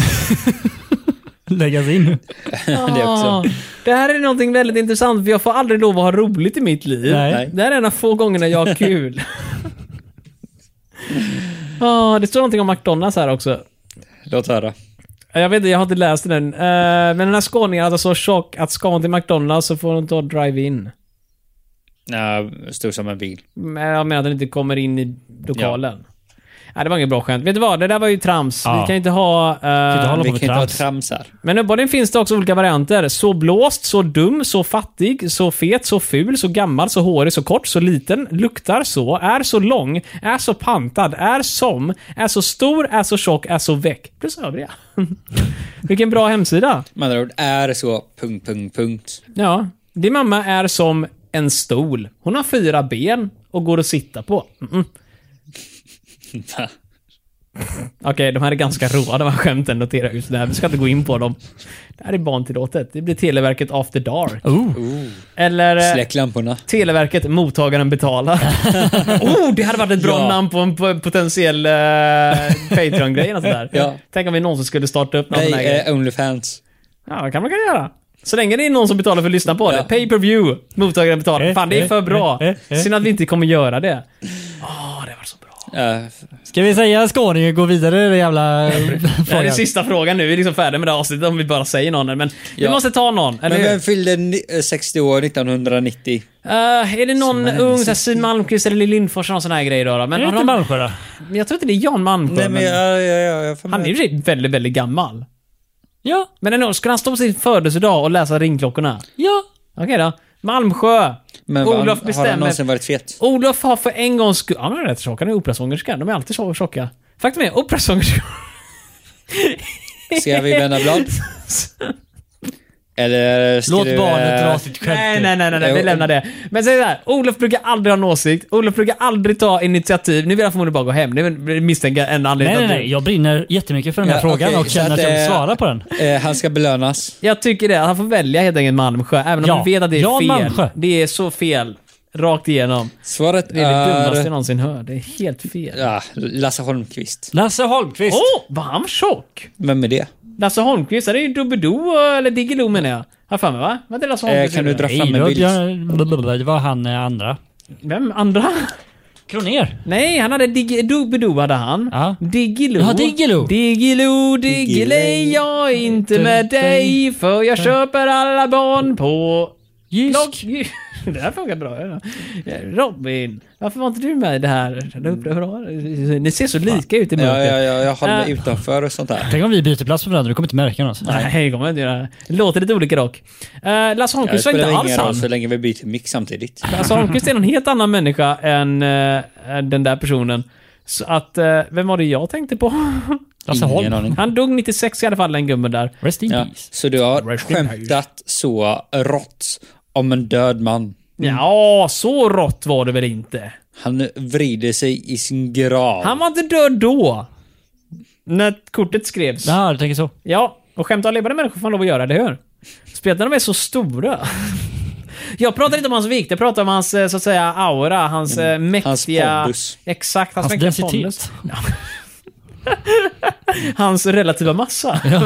B: Läggas in.
D: det
A: Ah,
D: också.
A: det här är någonting väldigt intressant för jag får aldrig lov att ha roligt i mitt liv.
B: Nej.
D: Nej.
A: Det här är en av få gångerna jag har
D: <laughs>
A: kul. Ah, det står någonting om McDonalds här också.
D: Låt höra.
A: Jag vet inte, jag har inte läst den. Eh, men den här skåningen är alltså så tjock att ska hon till McDonalds så får hon ta drive-in.
D: Ja, stor som en bil.
A: Men jag menar att den inte kommer in i lokalen. Nej, det var inget bra skämt. Vet du vad? Det där var ju trams.
B: Ja.
A: Vi kan inte ha... eh,
B: inte hålla
D: Vi
B: på
D: kan
B: med
D: inte ha
B: trams.
D: trams här.
A: men uppenbarligen finns det också olika varianter. Så blåst, så dum, så fattig, så fet, så ful, så gammal, så hårig, så kort, så liten, luktar så, är så lång, är så pantad, är som, är så stor, är så tjock, är så väck. Plus övriga. <laughs> Vilken bra hemsida.
D: Med andra ord, är så... Punkt, punkt, punkt.
A: Ja. Din mamma är som en stol. Hon har fyra ben och går att sitta på.
D: <laughs>
A: Mm-mm.
D: Va?
A: Okej, de här är ganska råa de här skämten, notera just det här. Vi ska inte gå in på dem. Det här är barntillåtet. Det blir Televerket After Dark.
B: Oh.
A: Eller... eh,
D: Släck lamporna.
A: Televerket, mottagaren
D: <laughs>
A: betalar. oh, det hade varit ett bra
D: Ja.
A: namn på en po- potentiell eh, Patreon-grej. eller sådär.
D: Ja.
A: Tänk om vi någonsin skulle starta upp någon sån här
D: Nej,
A: grej.
D: eh, Onlyfans.
A: Ja, det kan man kunna göra. Så länge det är någon som betalar för att lyssna på
D: Ja.
A: det. Pay per view Mottagaren betalar.
B: Eh,
A: Fan, det är
B: eh,
A: för bra.
B: eh, eh.
A: Synd att vi inte kommer göra det. Åh, det var så bra.
D: Eh,
B: Ska vi säga Skåne och gå vidare i den jävla eh,
A: Det här är
B: frågan?
A: sista frågan nu. Vi är liksom färdiga med det här avsnittet om vi bara säger någon. Men vi
D: Ja.
A: måste ta någon, eller
D: men
A: hur?
D: vem fyllde ni- eh, 60 år 1990?
A: Eh, är det någon ung, så här, Siw Malmkvist eller Lill Lindfors, någon sån här grej då? då? Men
B: Är det
A: har
B: inte
A: de-
B: Malmsjö då?
A: Men jag tror inte det är Jan Malmsjö.
D: Nej, men
A: men
D: jag... jag, jag, jag får
A: han är
D: med.
A: ju i och för sig väldigt, väldigt gammal.
B: Ja,
A: Men ändå, skulle han stå på sin födelsedag och läsa ringklockorna?
B: ja.
A: Okej då. Malmsjö.
D: Men vad-
A: Olof
D: har han
A: bestämmer.
D: någonsin varit fet?
A: Olof har för en gångs skull... Han är rätt tjock, han är operasångerska. De är alltid så tjocka. Faktum är, operasångerskor...
D: Ska vi vända blad? Eller ska
B: Låt
D: du,
B: barnet
D: eh,
B: dra sitt skämt
A: <laughs> Nej,
B: nu.
A: nej, nej, nej, nej, vi
D: Jo.
A: lämnar det. Men säg såhär, Olof brukar aldrig ha en åsikt. Olof brukar aldrig ta initiativ. Nu vill han förmodligen bara gå hem. Det är väl- misstänker jag en anledning
B: Nej, nej,
A: till att
B: nej. Jag brinner jättemycket för den här
D: Ja,
B: frågan
D: okej,
B: och
D: så
B: känner
D: att,
B: att jag vill
D: eh,
B: svara på den.
D: eh, han ska belönas.
A: du- Jag tycker det. Han får välja helt enkelt Malmsjö, även om
B: Ja.
A: vi vet att det är
B: Ja,
A: fel.
B: Malmsjö.
A: Det är så fel. Rakt igenom.
D: Svaret
A: Det är det dummaste jag
D: är...
A: någonsin hört. Det är helt fel.
D: Ja, Lasse Holmqvist.
B: Lasse Holmqvist.
A: Åh, var han tjock?
D: Vem är det?
A: Lasse Holmqvist, det är ju Doobidoo, eh, eller Diggiloo menar jag. Har för mig va? Var det Lasse
D: Eh,
A: Holmqvist?
D: kan du dra
B: Nej,
D: fram en
B: då-
D: bild?
B: jag- blablabla, det var han eh, andra.
A: Vem? Andra?
B: Kroner.
A: Nej, han hade Diggi- Doobidoo hade han.
B: Ja.
A: Diggiloo.
B: Ja, Diggiloo.
A: Diggiloo, Diggiley,
D: Diggiley.
A: jag är inte med dig för jag köper alla barn på...
B: Jysk.
A: Log... <laughs> Det här funkar bra. ja. Robin, varför var inte du med i det här? Det är bra. Ni ser så lika ut i
D: Ja,
A: mörkret.
D: ja, ja, jag håller
A: Eh.
D: mig utanför och sånt där.
B: Tänk om vi byter plats med varandra, du kommer inte märka något.
A: Nej, det kommer jag inte göra. Det Låter lite olika dock. Eh, Lasse
D: Ja, det
A: Holmqvist var inte
D: spelar
A: alls
D: ingen
A: han.
D: roll så länge vi byter mick samtidigt.
A: Lasse Holmqvist är en helt annan människa än eh, den där personen. Så att, eh, vem var det jag tänkte på? <laughs>
B: Lasse
D: Ingen
B: Holm.
D: aning.
A: Han dog 96 i alla fall, den gubben där.
B: Rest in
D: Ja,
B: peace.
D: så du har
A: Rest in
D: skämtat så rått om en död man.
A: Mm. Ja, så rått var det väl inte?
D: Han vrider sig i sin grav.
A: Han var inte död då. När kortet skrevs. Ja,
B: Ja, du tänker så.
A: och skämt om levande människor får man lov att göra, eller hur? Speciellt när de är så stora. <laughs> Jag pratar inte om hans vikt, jag pratar om hans eh, så att säga aura, hans eh, mäktiga...
D: pondus.
A: Exakt, hans,
B: Hans
A: mäktiga
B: densitet.
A: pondus. Ja. <laughs> hans relativa massa. <laughs>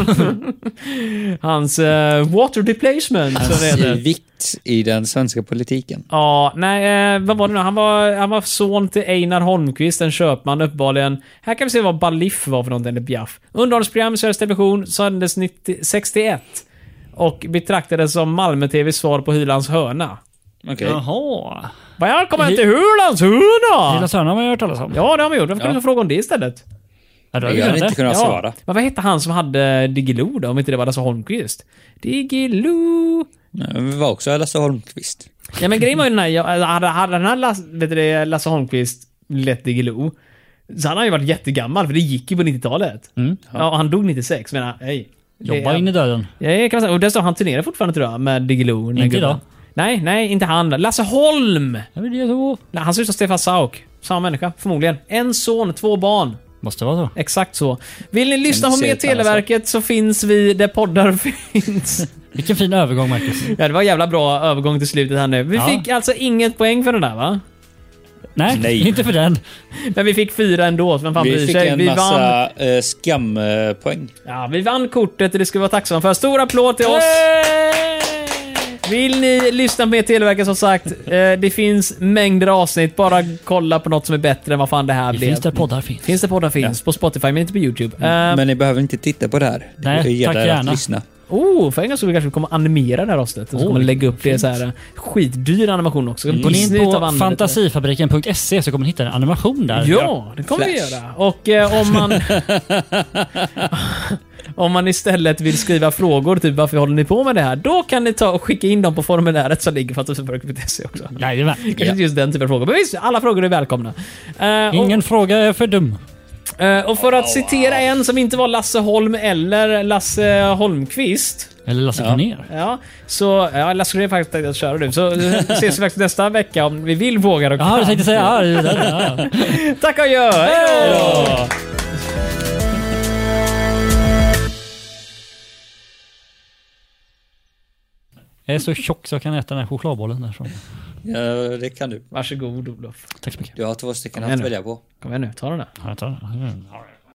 A: hans eh, water deplacement, som det heter.
D: Hans vikt i den svenska politiken.
A: Ja, nej, eh, vad var det nu? Han var, han var son till Einar Holmqvist, en köpman uppenbarligen. Här kan vi se vad Baliff var för någonting, eller Biaff. Underhållsprogram, Sveriges Television, sändes 90 61. Och betraktades som Malmö-TVs svar på Hylands hörna.
D: Okej.
B: Jaha.
A: Välkommen till Hylands hörna!
B: Hylands hörna har man ju hört talas om.
A: Ja, det har vi gjort. Varför kunde vi fråga om det istället?
B: Ja, då har vi
D: Jag hade
B: glömt det.
D: inte kunnat svara.
A: Men vad hette han som hade Diggiloo då, om inte det var Lasse Holmqvist? Diggiloo...
D: Vi var också Lasse Holmqvist.
A: Ja men grejen var ju den här, jag, alltså, hade, hade den här Lasse, vet du det, Lasse Holmqvist lett Diggiloo, så han har ju varit jättegammal för det gick ju på 90-talet. Ja, och han dog 96, men hej.
B: Jobba Mm. in i döden.
A: Ja, det kan man säga. Och dessutom, han turnerar fortfarande tror jag med Diggiloo. den här
B: Inte
A: gubben.
B: idag.
A: Nej, nej, inte han. Lasse Holm!
B: Ja, men det är så.
A: Nej, han ser ut som Stefan Sauk. Samma människa, förmodligen. En son, två barn.
B: Måste vara så.
A: Exakt så. Vill ni lyssna
D: ni
A: på
D: se
A: mer
D: ett annat
A: Televerket så finns vi där poddar <laughs> finns.
B: Vilken fin övergång, Marcus.
A: ja, det var en jävla bra övergång till slutet här nu. Vi
B: Ja.
A: fick alltså inget poäng för den där va?
B: Nej,
D: Nej.
B: inte för den.
A: Men vi fick fyra ändå, så vem fan
D: Vi
A: bryr
D: fick
A: sig?
D: en
A: Vi vann,
D: massa eh, skampoäng.
A: ja, vi vann kortet och det ska vi vara tacksamma för. Stor applåd till oss! Vill ni lyssna på mer Televerket som sagt, eh, det finns mängder av avsnitt. Bara kolla på något som är bättre än vad fan det här
B: Det
A: blev.
B: finns där poddar finns.
A: Finns det poddar finns. På Spotify, men inte på YouTube. Eh,
D: Mm. Men ni behöver inte titta på det här.
B: Nej,
D: det
B: tack
D: gäller
B: gärna.
D: att lyssna.
A: oh, för en gång skulle vi kanske kommer animera det här avsnittet. Och så kommer vi lägga upp det i så här eh, skitdyr animation också.
B: Gå Mm. in
A: Disney utav
B: på
A: användet.
B: fantasifabriken.se så kommer ni hitta en animation där.
A: Ja, det kommer vi
D: Flash.
A: göra. Och eh, om <laughs> man... om man istället vill skriva frågor, typ varför håller ni på med det här? Då kan ni ta och skicka in dem på formuläret som ligger på fantasifabriken.se <laughs> också.
B: Jajamän.
A: Kanske inte just den typen av frågor, men visst, alla frågor är välkomna. Eh, och-
B: Ingen fråga är för dum.
A: Eh, och för att citera en som inte var Lasse Holm eller Lasse Holmqvist.
B: Eller Lasse Kronér.
A: Ja, så... Ja, Lasse Holm är faktiskt tänkt att köra nu. Så eh, ses vi faktiskt nästa vecka om vi vill, vågar och <laughs>
B: Ja, du
A: kan.
B: tänkte säga... Ja, det är där, ja.
A: Tack och gör! Hej då!
B: Jag är så tjock så jag kan äta den här chokladbollen där. Så.
D: Ja, det kan du.
A: Varsågod Olof.
B: Tack så mycket.
D: Du har två stycken
A: igen
D: att
A: nu.
D: välja på.
A: Kom igen nu, ta den där.
B: Ja, jag tar den. Ja, jag tar den.